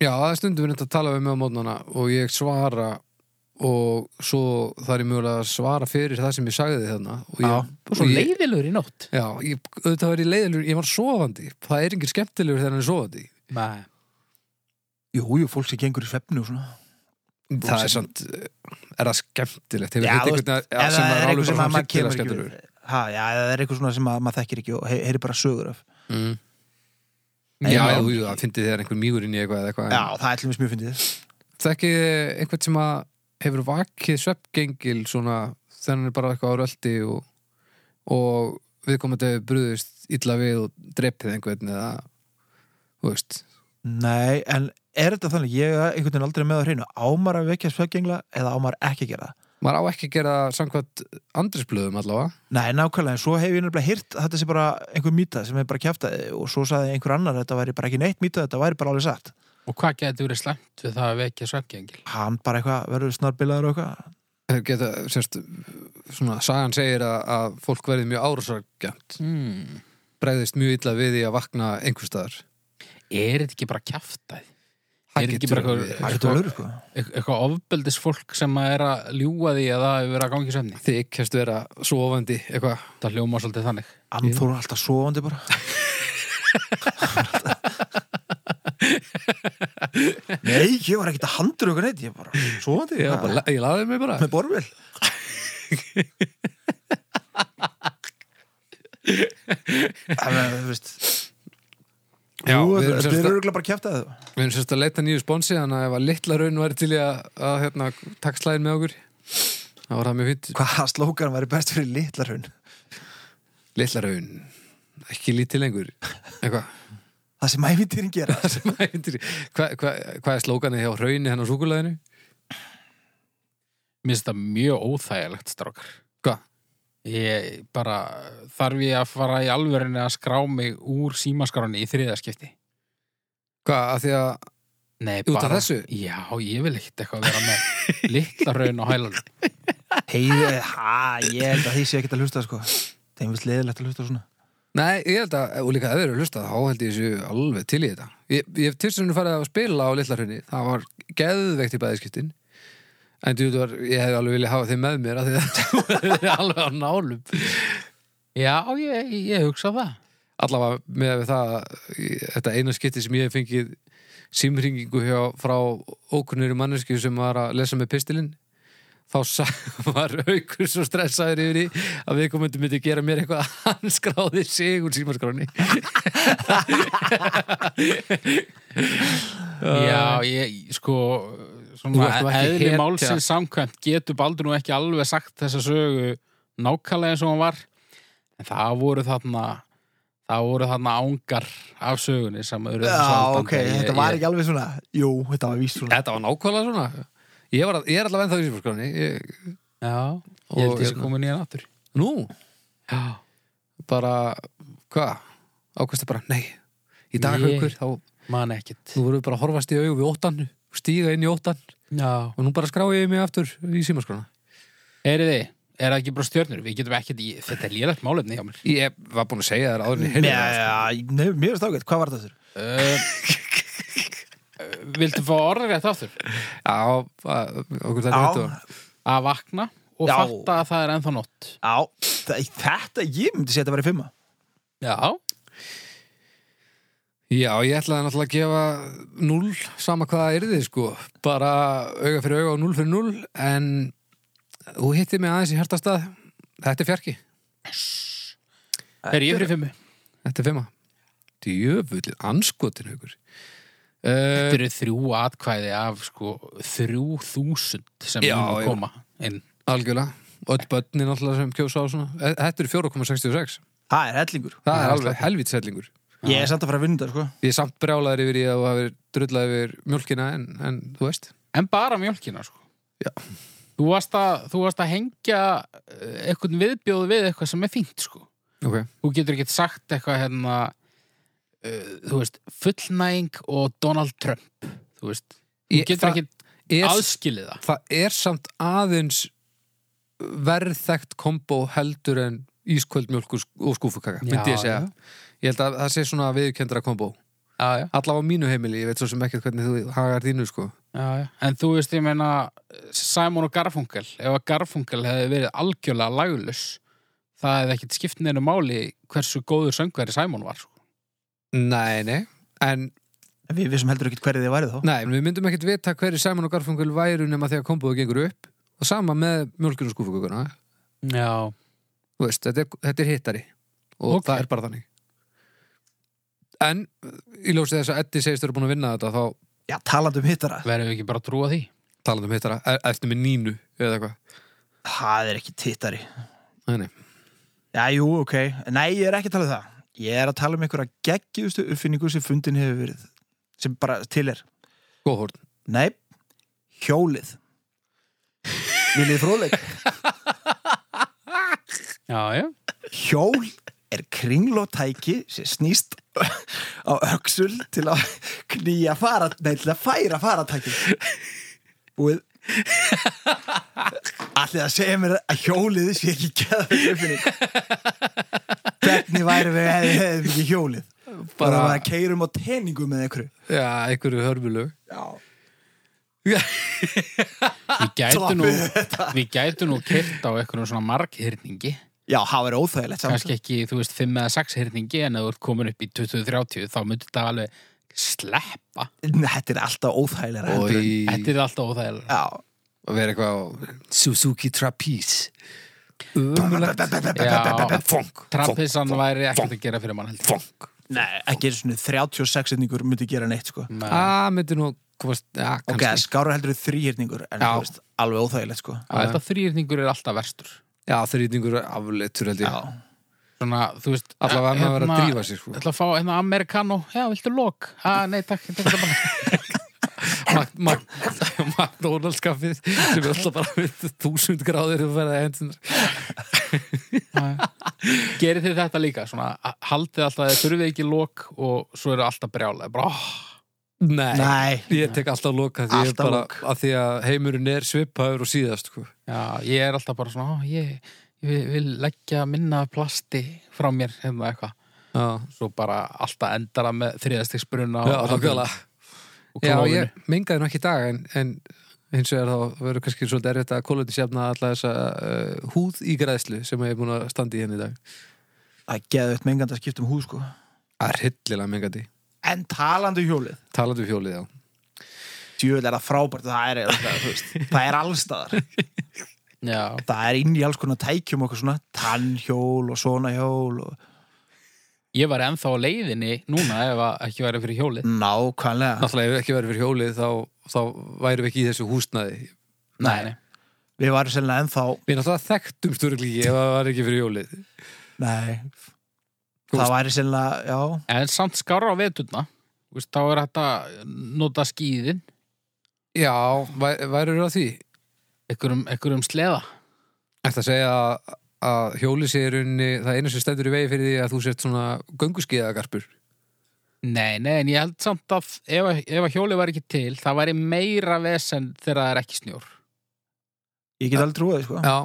S1: já það er stundum við neitt að tala við mig á mótnana og ég svara og svo þar ég mjögulega að svara fyrir það sem ég sagði þarna og ég,
S3: Já,
S1: og
S2: Svo
S1: ég,
S2: leiðilegur í nótt.
S1: Já, ég, auðvitað var ég leiðilur, ég var sofandi Það er engin skemmtilegur þegar hann er sofandi
S2: Nei.
S3: jú, jú, fólk sem gengur í svefni og svona
S1: Það er sant, er það skemmtilegt Hefur
S3: Já,
S1: hitt
S3: þú
S1: einhvern að-
S3: Ef
S1: sem
S3: það
S1: maður
S3: er
S1: alveg bara
S3: eitthvað sem að
S1: svona
S3: maður kemur
S1: hryllilega
S3: ekki
S1: skemmtilegur
S3: við ha, já, ef það er eitthvað svona sem að maður þekkir ekki og hey, heyri bara sögur af
S1: Mm.
S3: Nei,
S1: Já,
S3: maður-
S1: jú, jú, það fyndi þegar einhver mýgur inn í eitthvað, eða eitthvað en-
S3: já, það er til mér mjög fyndið
S1: þekkið þið einhvern sem að hefur vakið sveppgengil svona þegar hann er bara eitthvað á röldi og, og við komum að brúðist illa við og dreipið einhvern eða, þú veist
S3: Nei, en er þetta þannig, ég er einhvern veginn aldrei með að hreinu, ámar að vekja sveggengla eða ámar ekki að gera það?
S1: maður á ekki að gera það samkvæmt andrisblöðum allavega
S3: Nei, nákvæmlega, en svo hef ég nefnilega hýrt þetta sé bara einhver mýta sem er bara kjæftaði og svo saði einhver annar að þetta væri bara ekki neitt mýta, þetta væri bara alveg satt.
S2: Og hvað getur verið slæmt við það að vekja svefngengil?
S3: Hann bara eitthvað, verður snarbilaður og eitthvað.
S1: Þeir geta, sérst, svona sagan segir að, að fólk verði mjög árásargjönd Hmm.
S2: Mm.
S1: bregðist mjög illa við því að vakna einhver staðar
S2: Er þetta ekki bara kjaftaði? Er ekki bara
S1: verið.
S2: eitthvað-
S3: Það getur alveg, sko.
S2: Eitthvað ofbeldis fólk sem að er að ljúga því að það hefur verið að gangi svefni.
S1: þykjast vera sofandi eitthvað
S2: Það hljóma svolítið þannig.
S3: Amþór er alltaf svoandi bara. Nei, ég var ekkert að handur eitthvað neitt, ég var bara svoandi.
S1: ég, bara, ég laði mig bara
S3: með borvel. Það veist
S1: Já,
S3: Jú,
S1: við erum
S3: þetta
S1: sem sagt-
S3: er örgulega bara kjæft að það
S1: Við erum sérst að leita nýju sponsi þannig að ef að litla raun væri til í að, að hérna, takk slæðin með okkur þá var það mjög fint
S3: Hvaða slókan væri best fyrir litlar hún
S1: Litla raun, ekki lítið lengur eitthvað <laughs>
S3: Það sem æfintýrin gera
S1: Það sem að heitir- Hvað hva, hva er slókanið hjá hérna raunni hennar súkulæðinu?
S2: Mér finnst það mjög óþægilegt, strákar.
S1: Hvað?
S2: Ég bara þarf ég að fara í alvörinu að skrá mig úr símaskráni í þriðaskipti.
S1: Hvað, af því að
S2: Nei,
S1: Út af
S2: bara...
S1: þessu?
S2: Já, ég vil ekkert eitthvað vera með litla raun og hælan.
S3: Heiði, ha, ég held að því sé ekkert að hlusta sko Þeim finnst leiðilegt að hlusta svona
S1: Nei, ég held að, og líka ef þeir eru hlustað þá held ég þessu alveg til í þetta Ég, ég hef tilsyninu farið að spila á litla raunni það var geðveikt í bæðiskiptin <laughs> en þú veist, ég hef alveg viljað hafa þeim með mér af því að það er alveg á nálum
S2: Já, ég, ég hugsa það.
S1: allavega með það í- þetta eina skipti sem ég hef fengið símringingu hjá, frá ókunnur manneski sem var að lesa með pistilinn þá sa- <laughs> var aukur svo stressaður yfir því að við komundum myndi gera mér eitthvað að hann skráði sig úr símaskráni
S2: Já, ég, sko,
S1: Þú
S2: svona
S1: ert nú ekki
S2: eðli
S1: hetja.
S2: málsins samkvæmt getur Baldur nú ekki alveg sagt þessa sögu nákvæmlega eins og hann var. En það voru þarna, það voru þarna ángar af sögunni sem eru
S3: Já, ok, þetta var ekki alveg svona Jú, þetta var víst svona
S1: Þetta var nákvæmlega svona Ég, var, að- ég er allavega ennþá í símaskráni ég,
S2: Já,
S1: Og
S2: ég held þess að
S1: hérna-
S2: koma nýjan aftur.
S1: Nú,
S2: Já,
S1: bara, hvað? Ákvæmstu bara, nei Í dag
S2: Nei.
S1: aukur, þá
S2: man ekkit.
S1: nú vorum við bara að horfast í augu við óttan stíga inn í óttan
S2: Já.
S1: og nú bara skrái ég mig aftur í símaskrána
S2: Heyriði, er það ekki bara stjörnur? Við getum ekkit, í- þetta er lélegt málefni hjá mér.
S1: Ég var búin að segja þér áður en ég
S3: Já,
S1: heyrði það.
S3: já, já, nei, mér er stákvæmt, hvað var þetta þurr?
S2: Uh, viltu fá orðið rétt aftur?
S1: Já, að- okkur þetta sko.
S3: Já.
S1: þetta var.
S2: að vakna og
S3: Já.
S2: fatta að það er ennþá nótt
S3: Já, þa- þetta, ég myndi segja þetta var í fimma
S2: Já,
S1: Já, ég ætlaði náttúrulega að gefa null sama hvað það yrði, sko. Bara auga fyrir auga og null fyrir null, en þú hittir mig aðeins í hærtastað. Þetta er fjarki.
S2: er ég fyrir fimmu
S1: Þetta er fimma. Djöfullið, anskotin haugur.
S2: Þetta
S1: Uh,
S2: eru þrjú atkvæði af sko þrjú þúsund sem
S1: Já,
S2: munu
S1: já.
S2: koma inn
S1: algjörlega. Öll börnin náttúrulega sem kjósa á svona. Eh, Þetta eru 4,66.
S3: Það er hellingur
S1: Það er alveg helvitsellingur.
S3: Ég er samt að fara að vinna þetta, sko
S1: Ég er samt brjálaður yfir ég að þú hafir drullað yfir mjölkina en, en þú veist.
S2: En bara mjölkina sko
S1: Já.
S2: Þú varst að, þú varst að hengja eh, einhvern viðbjóð við eitthvað sem er fínt sko
S1: Ok.
S2: Þú getur ekkert sagt eitthvað hérna uh, þú veist, fullnæging og Donald Trump þú veist, þú
S1: Ég-
S2: getur
S1: það
S2: ekkert
S1: Er
S2: aðskilið það
S1: það er samt aðeins verðþekkt kombo heldur en ísköld mjölk og sk- og skúfukaka,
S2: Já,
S1: myndi ég segja ég held að það sé svona viðkendra kombo
S2: Já, já
S1: allavega á mínu heimili, ég veit svo sem ekkert hvernig þú hagar þínu sko
S2: Já, já. En þú veist, ég meina Simon og Garfunkel, ef að Garfunkel hefði verið algjörlega lagulus það hefði ekkit skipt neina máli hversu góður söngveri Simon var sko.
S1: nei, nei, en
S3: En Við vissum heldur ekkert hverju þið værið þá
S1: nei, við myndum ekkert vita hverju Simon og Garfunkel væru nema þegar komboðu gengur upp og sama með mjölkun og skúfukakuna
S2: Já.
S1: Þú veist, þetta er, þetta er hittari og
S2: Ok.
S1: það er bara þannig en í ljósið þess að Eddi segist þú eru búin að vinna þetta þá
S3: Já, talandi um hittara
S2: Verðum við ekki bara að trúa því?
S1: talandi um hittara, e- eftir með nínu eða eitthvað,
S3: Það er ekki hittari
S1: nei, nei
S3: Já, jú, ok Nei, ég er ekki að tala um það Ég er að tala um einhverja geggjústu uppfinningu sem fundin hefur verið sem bara til er
S1: Góðhórn.
S3: Nei, hjólið Viljið fróðleik
S2: Já, já.
S3: Hjól er kringlótæki sem snýst á öxul til að knýja fara, nei, til að færa faratæki Búið Allir að segja mér að hjólið sé ekki geðveik uppfinning Hvernig væri við hefði hefði ekki hjólið bara, bara
S1: bara,
S3: að keirum á tenningu með einhverju
S1: já, einhverju hörmulög
S3: Já
S2: Við gætum nú,
S3: Toppið
S2: við gætum nú kert á einhverjum svona marghyrningi
S3: Já, það er óþægilegt samt
S2: kannski ekki, þú veist, 5 eða 6 hyrningi en ef þú ert komin upp í 20-30 þá myndir þetta alveg sleppa
S3: Nei, Þetta er alltaf óþægilega
S1: og
S3: heldur en-
S1: í,
S2: Þetta er alltaf óþægilega
S3: Já
S1: og vera eitthvað á Suzuki Trapeze umulegt
S2: Já.
S1: fong,
S2: Trappisann
S1: fong,
S2: væri ekkert að gera fyrir mann heldur
S1: fong
S3: Nei, ekki einu svona 36 hyrningur myndi gera neitt sko
S2: Nei.
S1: að Ah, myndi nú komast, já,
S3: Ok,
S1: kannski
S3: skára heldur þrýhyrningur en
S1: Já.
S3: þú veist, alveg óþægilegt sko
S2: Já, Þetta þrýrningur er alltaf verstur
S1: já, þrýtingur afleitur held ég
S2: Svona, þú veist
S1: allavega að maður vera að
S2: hérna,
S1: drífa sig sko.
S2: Ég ætla að fá hérna amerikano, já, viltu lok? Ah, nei, takk, takk það bara
S1: <laughs> Mac- Mac- McDonalds kaffið sem er alltaf bara við þúsund gráður og verða endunar
S2: Gerið þið þetta líka, svona, a- haldið alltaf að þið þurfið ekki lok og svo eru alltaf brjálega bara, oh,
S1: nei,
S3: Nei,
S1: ég tek alltaf loka því,
S3: Alltaf
S1: alltaf bara,
S3: lok.
S1: að því að heimurinn er svipaður og síðast sko.
S2: já, ég er alltaf bara svona, ó, ég, ég vil, vil leggja minna af plasti frá mér, hérna eitthvað
S1: já
S2: Svo bara alltaf endara með þriðastiksbruna
S1: Já, nákvæmlega
S2: og
S1: Já,
S2: klófinu.
S1: ég mengaði nú ekki í dag en, en hins vegar þá verður kannski eh, svolítið erfitt að kólöndi sefna alla þessa uh, húð í græðslu sem ég er búin að standa í henni í dag
S3: Það er geðveitt mengandi að skipta um húð sko
S1: Það er hryllilega mengandi.
S3: En talandi um hjólið
S1: Talandi um hjólið, já.
S3: Djúvel er það frábært, það er, eiginlega, þú veist, það er allstaðar
S2: Já,
S3: Það er inn í alls konar tækjum okkur svona Tannhjól og svona hjól og...
S2: ég var ennþá á leiðinni núna ef að ekki væri fyrir hjólið.
S3: Nákvæmlega
S1: Náttúrulega, ef við ekki verið fyrir hjólið, þá, þá værum við ekki í þessu húsnaði.
S2: Nei, nei.
S3: Við varum sennilega ennþá
S1: Við náttúrulega þekktum störglíki ef það var ekki fyrir hjólið.
S3: Nei
S1: Þú
S3: Það
S1: veist-
S3: væri sennilega, já
S2: En samt skára á veturna, þú veist, þá er hægt að nota skíðin,
S1: Já, væ- værirðu að því?
S2: einhverjum, einhverjum sleða.
S1: Ertu að segja að, að hjólið sé í rauninni, það einu sem stendur í vegi fyrir því að þú sért svona gönguskiðagarpur.
S2: Nei, nei, en ég held samt að ef, að- ef að hjólið var ekki til, það væri meira vesen þegar það er ekki snjór.
S3: Ég get alveg trúið, sko.
S1: Já,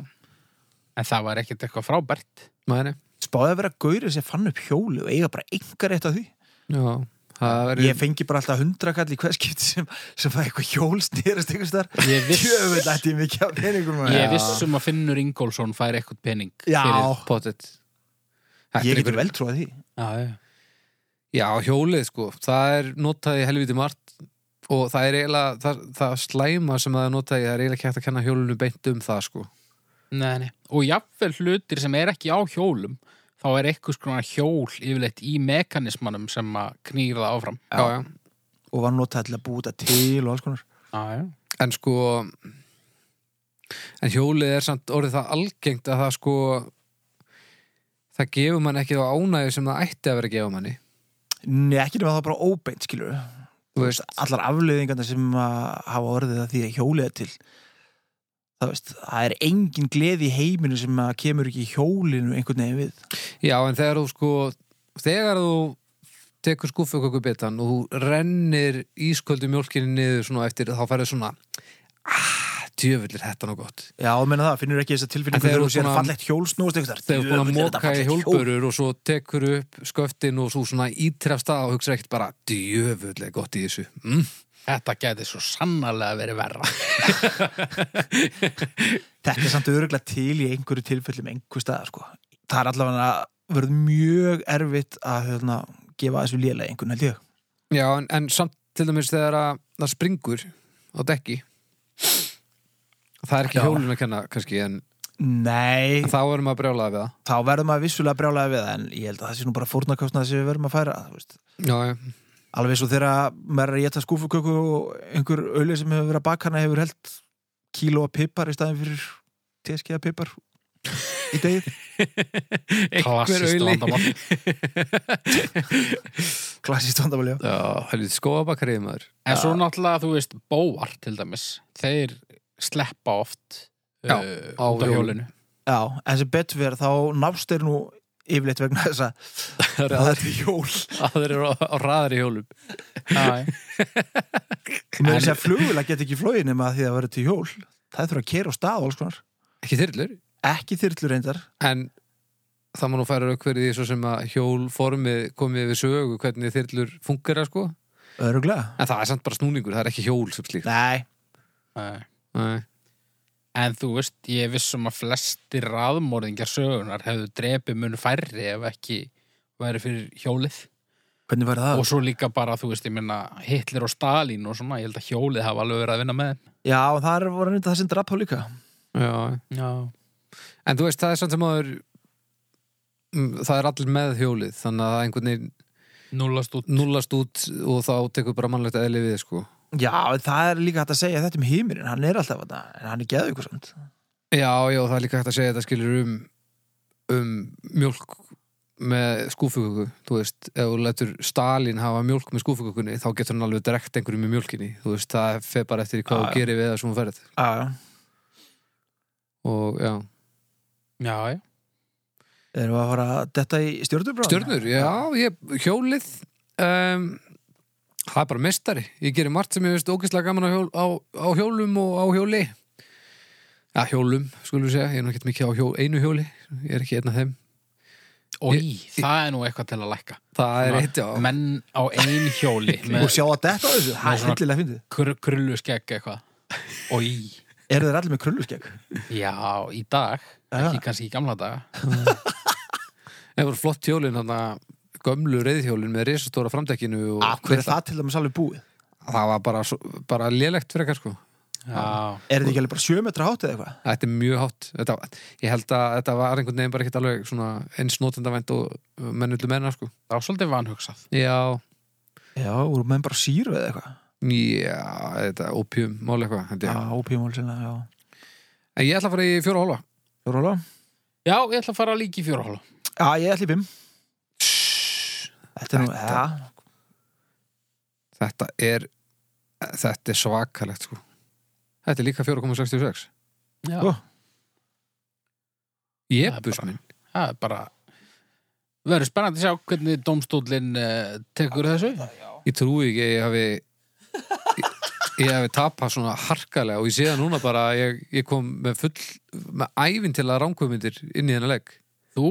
S2: En það var ekkert eitthvað frábært.
S1: mæni.
S3: Spáði að vera gaurið sem fann upp hjóli og eiga bara engar eitt af því.
S1: Já, það
S3: Ég
S1: verður...
S3: fengi bara alltaf hundrakall í hver skipti sem, sem það eitthvað hjól snýrast einhvers þar.
S2: Ég
S3: Jöfnveld
S2: viss,
S3: ætti ég mikið af peningum. maður.
S2: ég viss um að Finnur Ingólfsson fær eitthvað pening.
S3: Já,
S2: fyrir-
S1: Pottet. Þetta er
S3: ég
S1: einhver-
S3: getur vel trúið því.
S2: Já, já.
S1: Já, hjólið sko, það er notaði helviti margt og það er eiginlega, það, það slæma sem það er notaði, það er eiginlega ekki hægt að kenna hjólinu beint um það sko.
S2: Nei, nei. Og jafnvel hlutir sem er ekki á hjólum, þá er eitthvað skrona hjól yfirleitt í mekanismanum sem að knýra það áfram.
S1: Já, já.
S3: Og var notað til að búta til og alls konar.
S2: Já, já.
S1: En sko, en hjólið er samt orðið það algengt að það sko, það gefur mann ekki þá ánægju sem það ætti að vera að gefa manni.
S3: Nei, ekki nema það bara óbeint, skilur við.
S1: Þú veist,
S3: Allar afleiðingarna sem að hafa orðið að því að hjólið er til. Það veist, það er engin gleði í heiminu sem að kemur ekki í hjólinu einhvern veginn við.
S1: já, en þegar þú sko, þegar þú tekur skúfuköku betan og þú rennir ísköldu mjólkinni niður svona eftir, þá færðu svona, ah, djöfullir, þetta er nú gott.
S3: Já, meina það, finnur ekki þess að
S1: En
S3: tilfinningu
S1: þegar
S3: þegar þú
S1: þú
S3: sér
S1: svona-
S3: fallegt hjól snúast
S1: þegar
S3: einhvers
S1: þú er búin að
S3: Djöfull,
S1: móka
S3: er þetta
S1: í
S3: fallegt hjól.
S1: hjólbörur og svo tekur upp sköftin og svo svona ítrefst að og hugsa ekkert bara djöfulega gott í þessu mm.
S2: Þetta geti svo sannarlega verið <laughs> verra.
S3: Þetta er samt öruglega til í einhverju tilfellum einhver staðar, sko. Það er allavega verið mjög erfitt að hérna, gefa þessu lélega einhvern held ég.
S1: Já, en, en samt til dæmis þegar að það springur á dekki það er ekki
S3: Já.
S1: hjólun að kenna kannski en,
S3: Nei,
S1: en þá erum við að brjálaða við
S3: þá verður maður vissulega brjálega við það en ég held að það sé nú bara fórnarkostnað sem við verðum að færa, þú veist.
S1: það Já, já,
S3: Alveg svo þegar maður er að geta skúfuköku og einhver ölið sem hefur verið að baka hana hefur held kíló af pipar í staðin fyrir teskeiða pipar í degið. <laughs>
S2: Klassist
S1: auðli.
S2: vandamál.
S3: Klassist vandamál, já.
S1: já helviti skóabakariði maður
S2: En svo náttúrulega, þú veist, bóar til dæmis, þeir sleppa oft
S1: Já,
S2: uh,
S1: á
S2: út af
S1: hjólinu.
S2: hjólinu.
S3: Já, en sem betur verð þá nást er nú yfirleitt vegna þess að <laughs> það er jól
S1: Það eru á, á raðar í hjólum
S2: Já, já.
S3: og með þess að flugvila get ekki flóið nema að því að verður til jól það þurfa að kera á stað og alls konar
S1: Ekki þyrlur
S3: ekki þyrlu reyndar
S1: En það má nú færa rauk fyrir því svo sem að hjólformið komið við sögu hvernig þyrlur fungera sko
S3: öruglega
S1: En það er samt bara snúningur, það er ekki hjól sem slíkt.
S3: Nei,
S2: Nei.
S1: Nei.
S2: En þú veist, ég er vissum að flestir raðmorðingjar sögunar hefðu drepið mun færri ef ekki væri fyrir hjólið.
S3: hvernig verður það?
S2: og svo líka bara, þú veist, ég minna Hitler og Stalin og svona, ég held að hjólið hafa alveg verið að vinna með þeim.
S3: Já, og það er voru reynda það sem drap á líka
S1: Já.
S2: Já.
S1: En þú veist, það er samt sem áður mm, það er allir með hjólið þannig að það einhvern veginn
S2: Núlast út.
S1: nullast út og þá tekur bara mannlegt eðli við sko.
S3: Já, en það er líka hægt að segja þetta um heimurinn hann er alltaf þetta, en hann er geðu ykkur samt
S1: Já, já, það er líka hægt að segja þetta skilur um um mjólk með skúfuköku, þú veist ef þú letur Stalin hafa mjólk með skúfukökunni þá getur hann alveg drekt einhverjum í mjólkinni þú veist, það fer bara eftir því hvað
S3: Já,
S1: þú
S3: já.
S1: gerir við það sem hún ferð
S3: Já, já.
S1: og já,
S2: Já, já.
S3: erum við að fara að detta í stjórnurbráð?
S1: Stjörnur, já, ég, hjólið um, Það er bara mestari Ég gerir margt sem ég veist ógeðslega gaman á, hjól, á, á hjólum og á hjóli Já, hjólum, skulum við segja Ég er nú ekkert mikið á hjól, einu hjóli Ég er ekki einn af þeim
S2: Og í,
S1: Ég-
S2: það er nú eitthvað til að lækka.
S1: Það er
S2: Svona
S1: eitt, já
S2: Menn á ein hjóli
S3: Og
S2: með
S3: sjá að detta á þessu, það er
S2: svona-
S3: hildilega fyndið
S2: kr krullu skegg eitthvað. Og í,
S3: Eru þeir allir með krulluskegg?
S2: já, í dag,
S3: Já.
S2: ekki kannski í gamla daga.
S1: Það voru flott hjólin, þannig að gömlu reyðhjólin með risastóra framdekkinu og
S3: af hverju er það til dæmis alveg búið
S1: það var bara, svo- bara lélegt fyrir eitthvað sko.
S2: Já,
S3: er þetta ekki alveg bara 7 metra hátt eða eitthvað
S1: Þetta er mjög hátt. Þetta, ég held að þetta var einhvern veginn bara ekkert alveg svona eins notendavænt og mennullu menna sko.
S2: það var svolítið vanhugsað
S1: Já,
S3: já, voru menn bara síru eða eitthvað
S1: já, þetta opium, máli eitthvað. held
S3: já,
S1: ég.
S3: ópímál sinna, já
S1: En ég ætla að fara í fjóra og hálfa.
S3: Róla.
S2: Já, ég ætla að fara líki í fjóra hóla
S3: já, ég ætli í fimm þetta er nú,
S1: Þetta-
S3: já,
S1: Þetta er, þetta er svakalegt sko. Þetta er líka 4,66.
S2: Já,
S3: Ó.
S1: Ég
S2: Það er
S1: bus
S2: bara-
S1: minn.
S2: það er bara verður spennandi að sjá hvernig domstólinn uh, tekur þessu
S1: Ég trúi ekki að ég hafi ég, ég hafi tapað svona harkalega og ég sé það núna bara að ég, ég kom með full, með ævinn til að ránkvömyndir inn í þennan legg.
S2: Þú,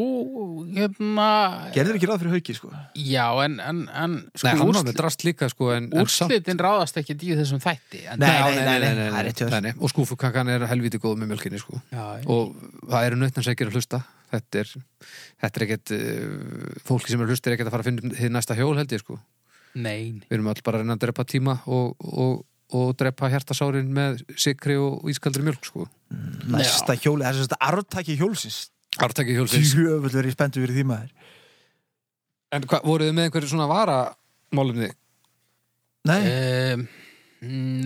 S2: hérna
S3: gerðir ekki ráð fyrir hauki sko
S2: Já, en, en, en
S1: Nei, hann var
S2: úrslit-
S1: með drast líka sko en, en samt-
S2: úrslitin ráðast ekki í þessum þætti en,
S3: Nei, nei, nei, nei, það er rétt hjá þér.
S1: nei, nei. Og skúfukakkan er helviti góð með mjölkinni sko
S2: já,
S1: og það eru nautnarsækir að hlusta þetta er, þetta er ekkert uh, fólki sem er að hlusta er ekkert að fara að finna þið næsta hjól held ég sko
S2: nei,
S1: við erum all bara að reyna að drepa tíma og, og, og drepa hjartasárin með sikri og ískaldri mjölk sko
S3: næsta hjóli, það er svona arftaki hjólsins
S1: Artaki hjólfins
S3: tjöfull verið spenntu fyrir því maður
S1: En hvað, voruð þið með einhverju svona varamálumni?
S3: nei,
S2: um,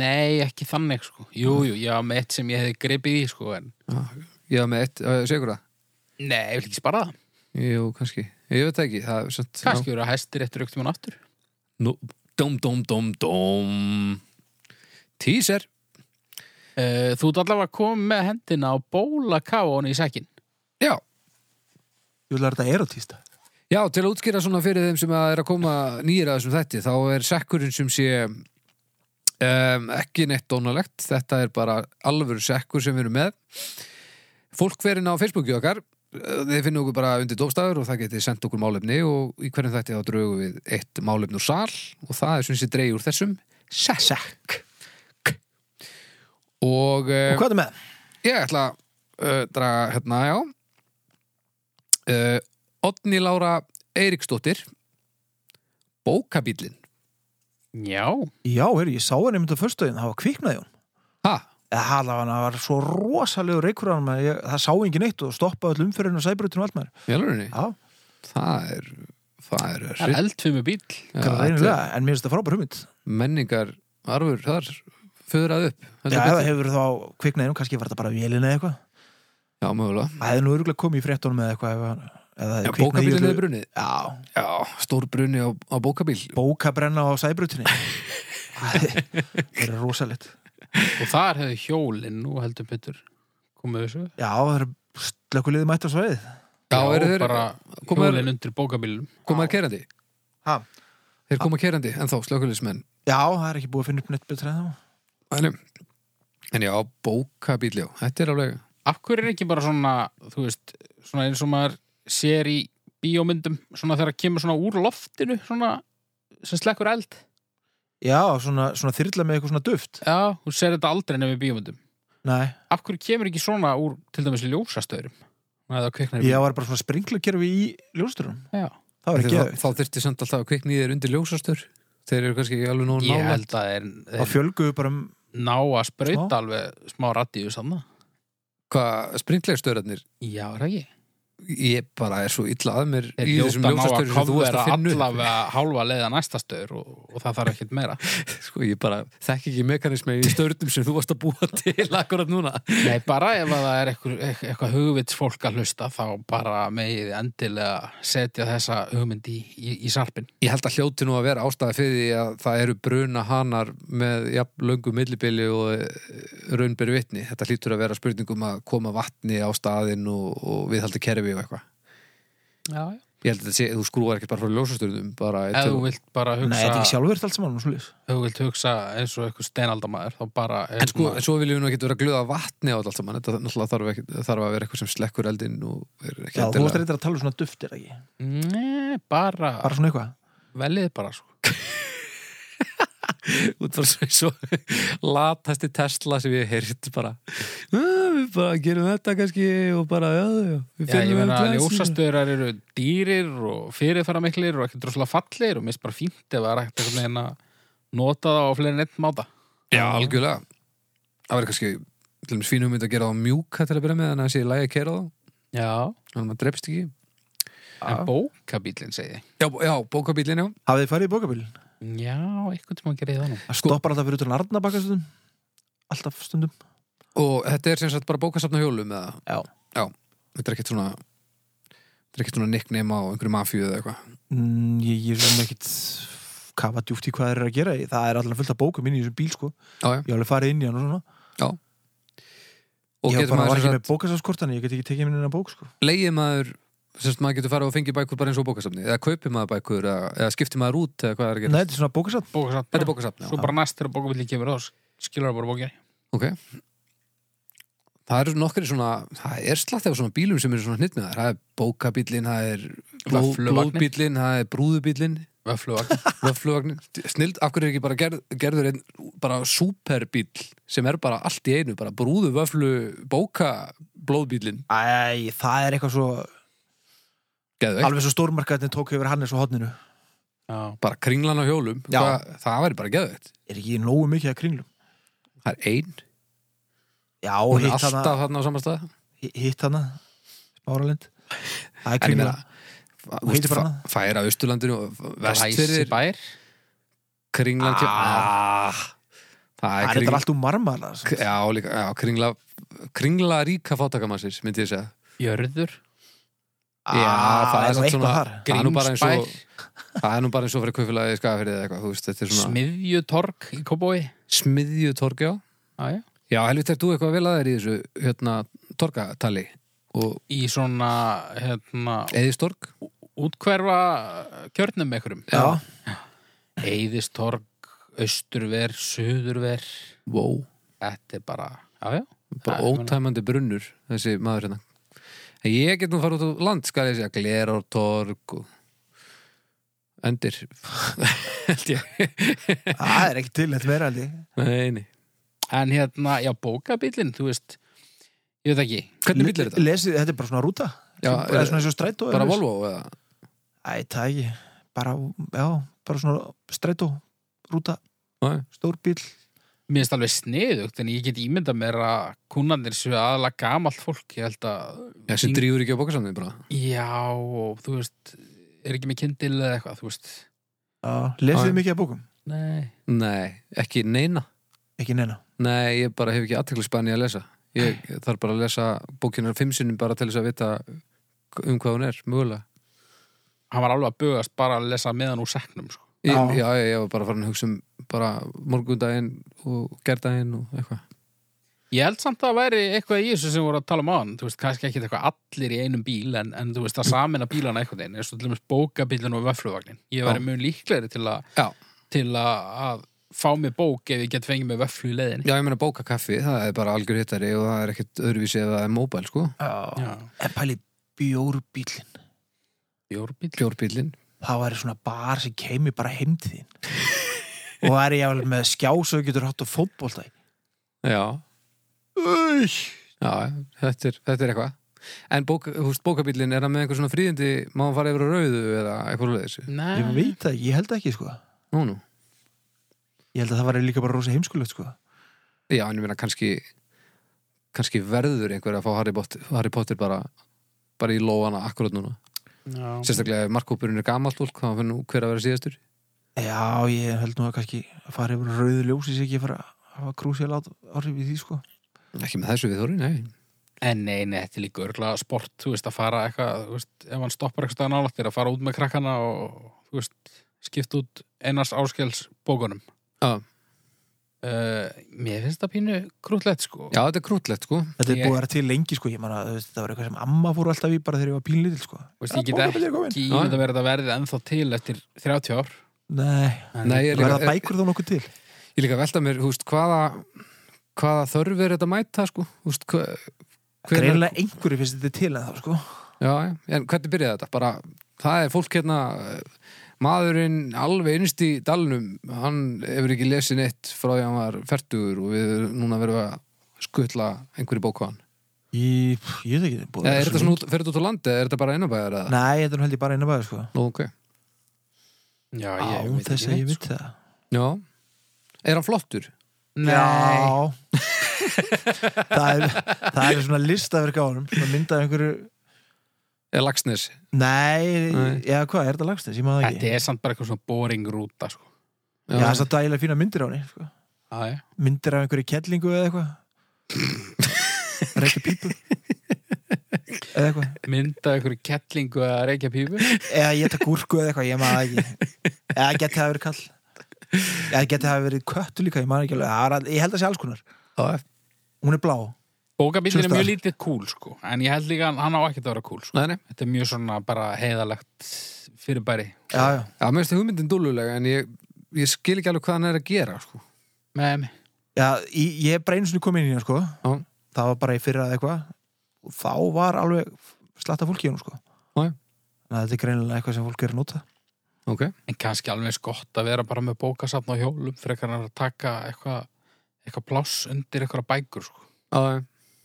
S2: nei ekki þannig sko Jú, jú, já, með eitt sem ég hefði gripið í sko en
S1: Ég var með eitt, uh, segur það?
S2: Nei, ég vil ekki spara það.
S1: Jú, kannski, ég veit það ekki það er samt,
S2: Kannski eru að hæstir eftir auktum hann aftur.
S1: Nú, dóm, dóm, dóm, dóm Teaser
S2: Uh, þú ert allavega komið með hendina á bóla káan í sækin.
S1: Já,
S3: ég vil að þetta erotísta
S1: Já, til að útskýra svona fyrir þeim sem að er að koma nýjir að þessum þætti, þá er sekkurinn sem sé um, ekki neitt dónalegt, þetta er bara alvöru sekkur sem við erum með Fólk verið á Facebooki okkar eh, þið finnum okkur bara undir dómstæður og það getið sendt okkur málefni og í hverjum þætti þá draugum við eitt málefni úr sal og það er sem sé dreig úr þessum sekk, sekk. Og,
S3: og
S1: um,
S3: hvað er með?
S1: Ég ætla að uh, draga hérna, já uh, Odni Lára Eiríksdóttir Bókabíllinn
S2: Já.
S3: já, heyrðu, ég sá henni mynd á förstöðin, það var kviknaði hún
S1: Ha,
S3: eða allavega hann var svo rosalegur reykur hann með, ég, það sá engin eitt og stoppaði öll umferðin og sæbrutinu og allt maður
S1: mjölurinn
S3: já,
S1: Það er, það er,
S2: Það er eldfimmu bíl.
S1: Já, þetta er
S3: greinilega, en mér finnst það frábær hugmynd
S1: menningar arfur þar föðrað upp
S3: já,
S1: heldur
S3: eða
S1: betur.
S3: hefur þá kviknaðinum, kannski var þetta bara vélina eða eitthvað
S1: já mögulega
S3: það hefði nú örgulega komið í fréttunum eða eitthvað ef hann- ef það
S1: Já,
S3: hefði kviknað í
S1: bókabíllinn
S3: öllu-
S1: er brunnið
S3: já,
S1: Já, stór brunni á, á bókabíl
S3: bókabrenna á <laughs> sæbrutinu það er rosalegt
S2: Og þar hefur hjólinn nú heldur betur komið þessu.
S3: já, það er slökulegði mætt á svæðið
S1: Já, eru þeir
S2: bara
S1: koma
S2: hjólinn undir bókabílum.
S1: komaðir kerandi?
S3: Ha?
S1: Þeir koma kerandi, en þá slökulismenn
S3: já, það er ekki búið að finna upp neitt betra en það
S1: En um, en já, bókabíll, já, þetta er alveg
S2: Af hverju er ekki bara svona, þú veist, svona eins og maður sér í bíómyndum, svona þegar kemur svona úr loftinu, svona sem slekkur eld.
S3: já, svona, svona þyrla með eitthvað svona duft
S2: Já, þú sér þetta aldrei nefnir bíómyndum.
S3: nei,
S2: Af hverju kemur ekki svona úr til dæmis ljósastöðurum? Nei, það kveiknar í
S3: ég var bara svona springlukerfi í ljósturum
S2: bíl. Já.
S3: það var
S1: Því
S3: ekki
S1: þá, þá þyrfti samt alltaf að kvikni þér undir ljósastur þeir eru kannski ekki alveg nóg
S2: Ég
S1: nála
S2: held að þeir,
S3: þá
S2: þeir
S3: fjölguðu bara um
S2: ná að sprauta
S3: Smá.
S2: alveg smá radíu sanna.
S1: hvað springlegstöðarnir
S2: Já, er það ekki?
S1: ég bara er svo illa að mér
S2: Þeir
S1: í þessum
S2: hljóta ná að
S1: ljósastöður sem þú ert
S2: kofvera
S1: að finna upp
S2: allavega hálfa leiða næsta stöður og, og það þarf ekkert meira.
S1: sko ég bara þekk ekki mekanismi í störnum sem þú varst að búa til akkurat núna
S2: Nei, bara ef að það er eitthvað, eitthvað hugvits fólk að hlusta þá bara megið þið endilega setja þessa hugmynd í, í, í sarpin.
S1: ég held að hljóti nú að vera ástæði fyrir því að það eru bruna hanar með jafn löngu millibili og raunberi vitni þetta hlýtur að vera spurningum að koma vatni á staðinn og, og viðhaldi kerfi og eitthvað
S2: Já, já.
S1: ég held að þetta sé, þú skrúar ekki bara frá ljósastörnum bara
S2: Ef þú vilt bara
S3: nei, þetta er ekki
S2: hugsa,
S3: sjálfvert allt saman og svoleiðis.
S2: ef þú vilt hugsa eins og eitthvað steinaldamaður þá bara...
S1: En sko, en svo viljum við nú ekkert vera að glöða vatni á þetta allt saman, þetta náttúrulega þarf, ekki, þarf að vera eitthvað sem slekkur eldinn og er ekki
S3: já, þú varst
S1: endilega-
S3: reyndar að tala um svona duft er það ekki
S2: Nei, bara,
S3: bara svona eitthvað
S2: velið bara sko.
S1: út frá svo, svo latasti Tesla sem ég hef heyrt bara, "Ah, við bara gerum þetta kannski og bara, já, já, við
S2: Já, ég
S1: finnum
S2: meina að
S1: þetta aðeins.
S2: ljósastöðurar eru dýrir og fyrirfara miklir og ekki droslega fallir og mist bara fínt ef það er ekkert einhvern veginn að nota það á fleiri en einn máta.
S1: Já, algjörlega Það verður kannski, til dæmis fínum mynd að gera það mjúka til að byrja með þannig að það sé í lagi að kera það
S2: Já,
S1: þannig að maður drepst ekki
S2: en bókabílinn segi. ég.
S1: Já, já bókabílinn, já
S3: Hafið þið farið í bókabílinn?
S2: Já, einhvern tíma gerði ég það nú.
S3: Það stoppar alltaf fyrir utan Arnabakka stundum Alltaf stundum
S1: Og þetta er sem sagt bara bókasafna hjólum eða,
S3: Já.
S1: þetta er ekkert svona þetta er ekkert svona nickname á einhverju mafíu eða eitthvað
S3: mm, Ég, ég er svona ekkit kafa djúpt í hvað þeir eru að gera Það er alltaf fullt af bókum inn í þessum bíl sko
S1: Já, já,
S3: Ég hef alveg farið inn í hann og svona
S1: og
S3: Ég
S1: getur
S3: bara var
S1: maður
S3: ekki
S1: sem
S3: með
S1: sagt,
S3: bókasaskort Þannig ég get ekki tekið minna bók sko
S1: leigir maður sem sagt maður getur farið og fengið bækur bara eins og bókasafni eða kaupir maður bækur eða, eða skiptir maður út eða hvað er að
S3: Nei,
S1: gera
S3: þetta er svona bókasafn
S2: Bókasafn.
S1: Þetta er bókasafn, já
S2: Svo bara næst þegar bókabílinn kemur þá skilur það bara bókinni.
S1: Ok Það eru nokkri svona, það er slatt af svona bílum sem eru svona hnitmiðar, það er bókabíllinn, það er bló,
S2: Vöffluvagninn.
S1: blóðbíllinn, það er brúðubíllinn, <laughs>
S2: Vöfluvagn.
S1: vöfluvagnin, snild, af hverju er ekki bara gerð, gerður einn bara superbíll sem er bara allt í einu, bara brúðu, vöflu, bóka, blóðbíllinn,
S3: Æ, það er eitthvað svo
S1: geðu ekki,
S3: Alveg svo stórmarkaðin tók yfir Hannes og hodninu
S2: Já.
S1: bara kringlan á hjólum,
S3: Já.
S1: Hvað, það væri bara geðu
S3: Er ekki nógu mikið að kringlum
S1: það er ein,
S3: Já,
S1: hún er
S3: hitt
S1: alltaf
S3: hana,
S1: þarna á samastað,
S3: hitt hana Smáralind Það er
S1: en ég
S3: kringla
S1: meina,
S3: Hún heitir bara hana.
S1: færa austurlandinu og vestfyrir,
S2: Glæsibær.
S1: kringlan kemur, ah, það er
S3: Það er þetta
S1: kringlan.
S3: allt úr marmara
S1: K- Já, líka, já, kringla kringla ríka fátakamassis, myndi ég segja
S2: Jörður.
S1: Já, það er
S3: Ah, nú
S1: samt
S3: eitthvað
S1: svona-
S3: þar
S1: Það er nú bara eins og-
S2: Grímsbær.
S1: Það er nú bara eins og fyrir kaufélagi skafirðið eða eitthvað, þú veist, þetta er svona
S2: Smiðjutorg í Kóbói.
S1: smiðju torgjá
S2: Já, já.
S1: Já, helvita, er þú eitthvað vel að þér í þessu hérna, torgatali og
S2: Í svona, hérna,
S1: eðistorg
S2: útkverfa kjörnum með einhverjum.
S3: Já,
S2: Eyðistorg, austurver, suðurver
S1: wow,
S2: Þetta er bara, já, já
S1: bara
S2: Það er meina-
S1: ótæmandi brunnur þessi maður hérna En Ég get nú fara út á land, skal ég segja glerártorg og endir held ég
S3: það er ekki til eitt meira aldrei
S1: Nei, nei.
S2: En hérna, já, bókabíllinn, þú veist Ég veit ekki
S1: Hvernig bíll er þetta?
S3: Lesið, þetta er bara svona rúta
S1: Já,
S3: Sem-
S1: er-
S3: eða svona eins og strætó
S1: Bara
S3: eða-
S1: Volvo eða?
S3: Æ, það ekki Bara, já, bara svona strætó Rúta,
S1: Nei.
S3: stór bíl
S2: Mér finnst alveg sniðugt, en ég get ímyndað mér að kunnandir séu aðalega gamalt fólk Ég held að
S1: Já, sem drýfur ekki á bókasamnið bara
S2: Já, og þú veist Er ekki með kindil eða eitthvað, þú veist
S3: Já, lesið
S1: Já.
S3: þið mikið af bókum
S2: Nei
S1: Nei, ekki neina
S3: Ekki neina
S1: Nei, ég bara hef ekki aðteklisbæni að lesa Ég þarf bara að lesa bókinar fimm sinnum bara til þess að vita um hvað hún er, mögulega
S2: Hann var alveg að bugast bara að lesa meðan úr seknum, sko
S1: Ég,
S3: Já.
S1: já, ég, ég var bara farin að hugsa um bara morgundaginn og gerdaginn og eitthvað
S2: Ég held samt að það væri eitthvað í þessu sem voru að tala um á hann, þú veist, kannski ekki eitthvað allir í einum bíl, en, en þú veist, að samina bílana einhvern veginn, eins og til dæmis bókabílun og vöfluvagnin. Ég væri
S1: Já.
S2: mjög líklegri til, að
S1: Já.
S2: til að, að fá mér bók ef ég get fengið mér vöflu í leiðinni.
S1: Já, ég meina bóka kaffi, það er bara algjör hittari og það er ekkert öðruvísi ef það er móbæl, sko
S3: Já,
S2: Já,
S3: en pæli bjórbílin
S2: bjórbíl.
S1: Bjórbíllinn
S3: Það væri svona bar sem kemi bara heim
S1: <laughs>
S3: til þín Og það er ég alveg með skjá svo þú getur hátt á fótbolta í.
S1: Já, já, þetta er, þetta er eitthvað En bók, húst, bókabíllinn, er það með einhver svona fríðindi má hann fara yfir á rauðu eða eitthvað leðis
S3: Ég
S2: Nei,
S3: veit það, ekki, ég held það ekki sko
S1: Nú, nú
S3: Ég held að það væri líka bara rosa heimskulegt sko
S1: Já, en ég meina kannski kannski verður einhver að fá Harry Potter, Harry Potter bara, bara í lóana akkurat núna.
S2: já.
S1: Sérstaklega ef markkópurinn er gamalt fólk, þá finnum hver að vera síðastur.
S3: Já, ég held nú að kannski að fara yfir rauðu ljósi sem ekki að fara að hafa krúsið lát orðið við því sko
S1: Ekki með þessu við þóri, nei.
S2: En nei, nei, þetta er líka örgulega sport, þú veist, að fara eitthvað, þú veist, ef hann stoppar eitthvað nálægt þér að fara út með krakkana og, þú veist, skipta út einars áskels bókunum.
S1: Já.
S2: Uh, mér finnst það pínu krútlegt, sko.
S1: Já, þetta er krútlegt, sko.
S3: Þetta er
S2: Ég-
S3: búið að vera til lengi sko, ég man að þú veist, það var eitthvað sem amma fór alltaf í bara þegar ég var pínlítil sko
S2: Þú veist,
S3: Ja,
S2: ég get
S3: bókabíll er kominn.
S2: ekki ímynd að vera þetta verðið ennþá til eftir 30 ár.
S3: Nei,
S1: Nei, ég er
S3: verða
S1: líka,
S3: bækur þá nokkuð til
S1: ég, ég líka að velta mér, húst, hvaða hvaða þörf er þetta að mæta, sko? Húst, hva, hvenær-
S3: Greinlega einhverju finnst þetta til en þá sko
S1: Já, já, en hvernig byrjaði þetta? Bara, það er fólk hérna eh, maðurinn alveg innst í dalnum hann hefur ekki lesið neitt frá því að hann var fertugur og við núna verðum að skutla einhverju bók á hann
S3: Ég, pff, ég veit ekki búið að
S1: Eða
S3: vera
S1: er þetta
S3: svo
S1: svona út, fer þetta út á landi eða er þetta bara innabæðar
S3: lengi.
S1: eða?
S3: Nei, þetta er held ég bara innabæði sko.
S1: Nú, ok.
S2: Já, ég
S3: Án
S2: veit
S3: þess
S2: ekki
S3: að ég
S2: neitt, sko.
S3: veit það
S1: Já. Er hann flottur?
S2: Nei,
S3: Já það, er, það er svona listaverk á honum Svona myndað einhverju
S1: Eða Laxnes?
S3: Nei,
S1: Nei.
S3: já hvað, er þetta lagstins? Ég maður það
S2: þetta
S3: ekki
S2: er samt bara eitthvað svona boring rúta sko.
S3: Já, það er satt að fína myndir á henni sko.
S2: Já, já.
S3: Myndir af einhverju kellingu eða
S1: <laughs>
S3: eitthvað Reykja pípu Eða eitthvað
S2: Mynda ykkur kettlingu að reykja pípu
S3: Eða ég takk gúrku eða eitthvað, ég maður það ekki Eða geti það verið kall Eða geti það verið köttu líka, ég maður ekki alveg Það er að- Ég held að sé alls konar
S1: Já.
S3: Hún er blá
S2: Bókabindin er
S3: Sjöstaðar.
S2: mjög lítið cool sko. En ég held líka að hann á ekkert að vera cool sko.
S1: Nei, nei.
S2: Þetta er mjög svona bara heiðalegt fyrirbæri
S3: Já, já
S1: Já, mér finnst það hugmyndin dúlulega en ég, ég skil ekki alveg hvað hann er að gera, sko.
S2: Nei, nei.
S3: Já, ég, ég er bara einu sinni kom inn í hann sko
S1: Já.
S3: Það var bara í fyrra eða eitthvað og þá var alveg slatta fólk í hann sko
S1: Já, já.
S3: Þannig að þetta er greinilega eitthvað sem fólk er að nota
S1: Ok.
S2: En kannski alveg eins gott að vera bara með bókasafn á hjólum frekar en að taka eitthvað eitthvað pláss undir eitthvað bækur sko.
S1: Já, já,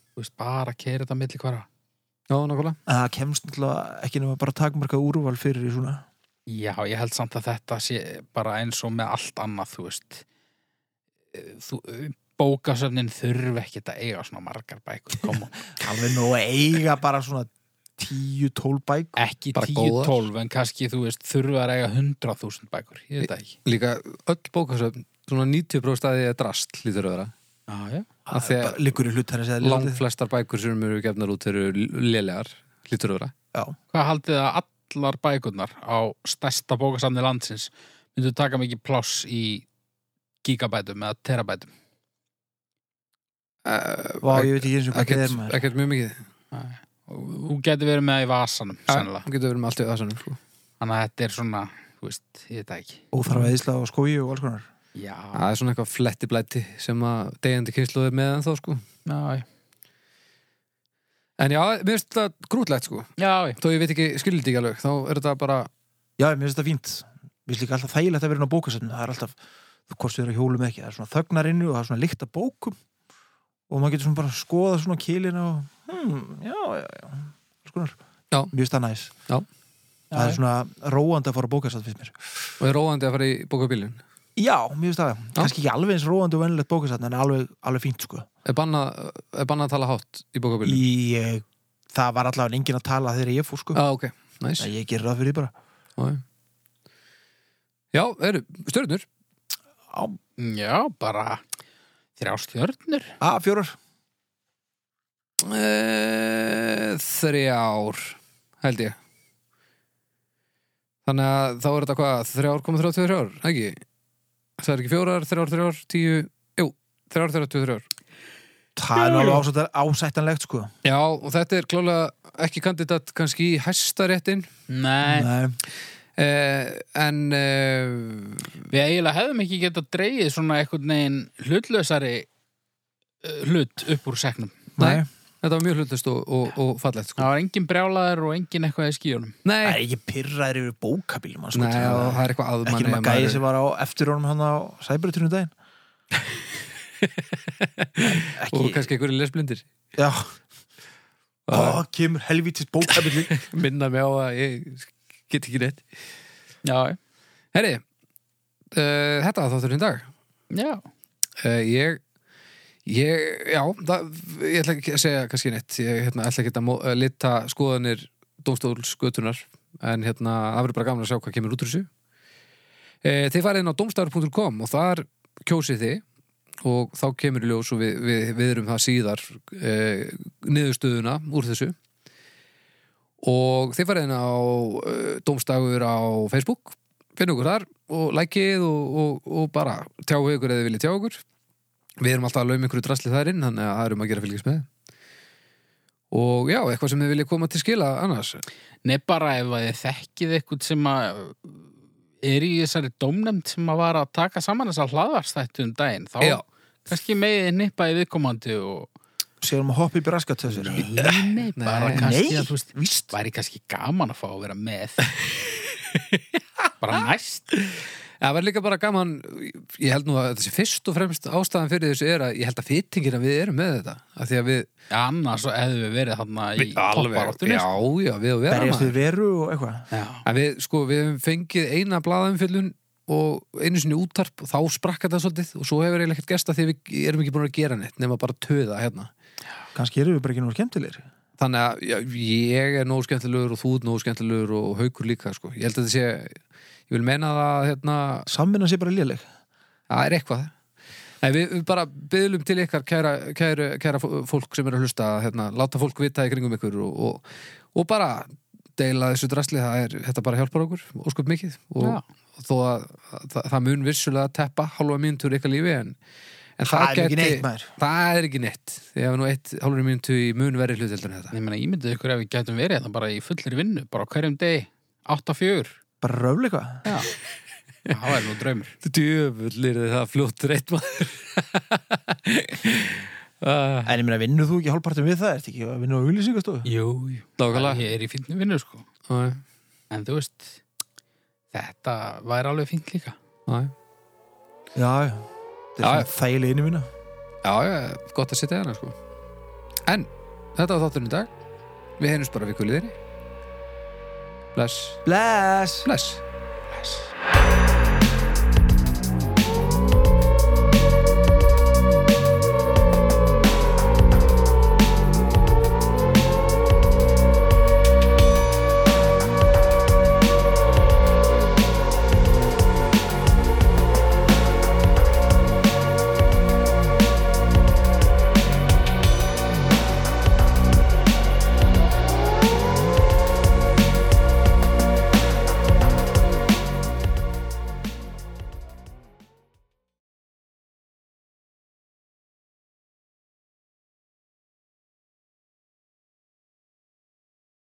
S2: Þú veist, bara keira þetta milli hverja
S1: já, nákvæmlega.
S3: En það kemst náttúrulega ekki nema bara takmarkað úrval fyrir í svona
S2: Já, ég held samt að þetta sé bara eins og með allt annað, þú veist Eh, þú, bókasöfnin þurfi ekki að eiga svona margar bækur <laughs> koma,
S3: alveg nú að eiga bara svona 10-12 bæk
S2: ekki
S1: Bara
S2: 10,
S1: góðar.
S2: 12 en kannski, þú veist, þurfi að eiga 100.000 bækur, ég veit það ekki
S1: Líka öll bókasöfn, svona 90% að því er drast, lítur að vera.
S2: Já, já,
S1: Af því að-
S3: Bara liggur í hlut henni segja
S1: Langt flestar bækur sem eru gefnar út eru lélegar, lítur að vera.
S2: hvað haldið þið að allar bækurnar á stærsta bókasafni landsins myndu taka mikið pláss í gigabætum eða terabætum
S1: Uh,
S3: Vá, ég veit ekki eins og hvað það er
S1: ekkert,
S3: maður
S1: ekkert mjög mikið.
S2: Þú getur verið með það í vasanum,
S1: Sennilega.
S2: sennilega
S1: Það getur verið með allt í aðsanum, sko.
S2: Þannig að þetta er svona, þú veist, ég veit það ekki
S3: Óþarfa eðisla og skói og alls konar
S2: Já,
S1: Það er svona eitthvað fletti blæti sem að degjandi kynsluður með en þá, sko.
S2: já,
S1: En já, mér finnst þetta grútlegt, sko.
S2: já, já.
S1: Þó ég veit ekki, skilur þetta ekki alveg, þá er þetta bara...
S3: Já, mér finnst þetta fínt Mér finnst líka alltaf þægilegt að vera inn á bókasöfn Það er alltaf, þú hvort við erum að hjólum eða ekki Það er svona þögnarinnu og það er svona lykt af bókum Og maður getur svona bara að skoða svona kýlina og hmm, já, já, já Alls konar
S1: Já.
S3: Mér finnst það næs
S1: Já.
S3: Það er svona róandi að fara á bókasöfn finnst mér
S1: Og er róandi að fara í bókabílin.
S3: Já, mér finnst það Kannski ekki alveg eins róandi og venilegt bókasöfn En alveg, alveg fínt sko
S1: Er bannað banna að tala hátt í bókabílin?
S3: ég, eh, Það var allavega engin að tala þegar ég fór sko
S1: Já, Ah, ok, næs.
S3: Ég gerir það fyrir því bara
S1: Já, Já, eru stjörnur.
S3: Á,
S2: Já, bara þrjá stjörnur
S3: á fjórar
S1: Eh, Þrjár, held ég. Þannig að þá er þetta hvað, þrjár komið þrjár, þrjár, ekki? Það er ekki fjórar, þrjár, þrjár, tíu, jú, þrjár, þrjár, þrjár, þrjár.
S3: Það er nú alveg ásættar- ásættanlegt sko
S1: Já, og þetta er klálega ekki kandidat kannski í hæstaréttin,
S2: Nei,
S3: Nei.
S1: eh, en eh,
S2: við eiginlega hefðum ekki getað dreigið svona eitthvað negin hlutlausari eh, hlut upp úr seknum
S1: Nei. þetta var mjög hlutast og, og, og fallegt, sko.
S2: Það var enginn brjálaður og enginn eitthvað í skíunum
S3: Það
S1: Nei,
S3: er ekki pyrraðir yfir bókabílum hann, sko,
S1: Nei,
S3: það-
S1: og það er eitthvað
S3: ekki
S1: aðmanni.
S3: nema gæði sem var á eftir honum hann á sæbrytunum
S1: <laughs>
S3: daginn ekki,
S1: Og kannski einhverju lesblindir.
S3: já,
S1: Það
S3: ó, kemur helvítist bókabíli
S1: minna mig á að ég get ekki neitt.
S2: Já,
S1: Herri, uh, þetta var þátturinn í dag.
S2: já
S1: Uh, ég, ég, já, það, ég ætla ekki að segja kannski neitt. Ég hérna, ætla ekki að mó- að lita skoðanir dómstólskötunar, en hérna, það verður bara gaman að sjá hvað kemur út úr þessu. Uh, þið farið inn á domstafur.com og þar kjósið þið og þá kemur í ljós og við, við, við erum það síðar uh, niðurstöðuna úr þessu. Og þið farið inn á uh, domstafur á Facebook finna okkur þar og likeið og, og, og bara tjáu ykkur eða vilja tjá ykkur við erum alltaf að lauma ykkur drasli þar inn þannig að það erum að gera að fylgjast með og já, eitthvað sem þið vilja koma til skila annars,
S2: Nei, bara ef að þið þekkið eitthvað sem að er í þessari dómnefnd sem að var að taka saman þessar hlaðvarstættu um daginn þá
S1: Já.
S2: kannski megið nippa í viðkomandi og
S3: séum að hoppa í braskat þessir
S2: nei, bara
S1: Nei.
S2: kannski
S3: Nei,
S2: að þú veist
S3: víst
S2: <laughs> væri kannski gaman að fá að vera með bara næst
S1: Það verður líka bara gaman, ég held nú að þessi fyrst og fremst ástæðan fyrir þessu er að ég held að fittingir að við erum með þetta að því að við,
S2: Já, annars svo hefðu við verið þarna í
S1: við
S2: topparáttunni
S1: já, já, við og vera
S3: berjast
S1: maður.
S3: við veru og eitthvað
S2: já.
S1: Að Við, sko, við hefum fengið eina blaðumfyllun og einu sinni úttarp og þá sprakka það svolítið og svo hefur eiginlega ekkert gesta því við erum ekki búin að gera neitt nema bara töða hérna.
S3: kannski eru við bara ekki nú skemmtilegir
S1: Þannig að já, ég er nógu skemmtilegur og þú er nógu skemmtilegur og haukur líka, sko. Ég held að þetta sé, ég vil meina það að hérna,
S3: samvinna sé bara léleg
S1: Það er eitthvað. Nei, við, við bara byðlum til ykkar kæra, kæra, kæra fó- fólk sem er að hlusta að hérna, láta fólk vita í kringum ykkur og, og, og bara deila þessu drasli, það er, þetta bara hjálpar okkur ósköp mikið
S2: Já.
S1: og, og þó að það, það mun vissulega teppa halva mínútur ykkar lífi en, en það,
S3: Það er ekki
S1: gæti-
S3: neitt, maður.
S1: það er ekki neitt ég hef nú eitt halva mínútur í mun verið hlut heldur en þetta
S2: Ég meina, ímyndið ykkur ef við gætum verið þarna bara í fullir vinnu, bara á hverjum degi <laughs> 8-4
S3: bara röfl eitthvað
S2: Já, það er nú draumur
S1: djöfull er það fljótt reitt maður <laughs> uh,
S3: en ég meina vinnur þú ekki hálfpartum við það ertu ekki að vinna á auglýsingastofu
S2: Jú, jú
S1: Nákvæmlega
S2: Ég er í fínni vinnu, sko
S1: Nei,
S2: En þú veist, þetta væri alveg fínt líka
S1: nei.
S3: já já
S1: Já,
S3: þetta er þægileg inni mína
S1: Já, já, gott að setja hérna sko En, þetta var þátturinn í dag Við heyrjumst bara við kuliðinni Bless,
S3: bless
S1: bless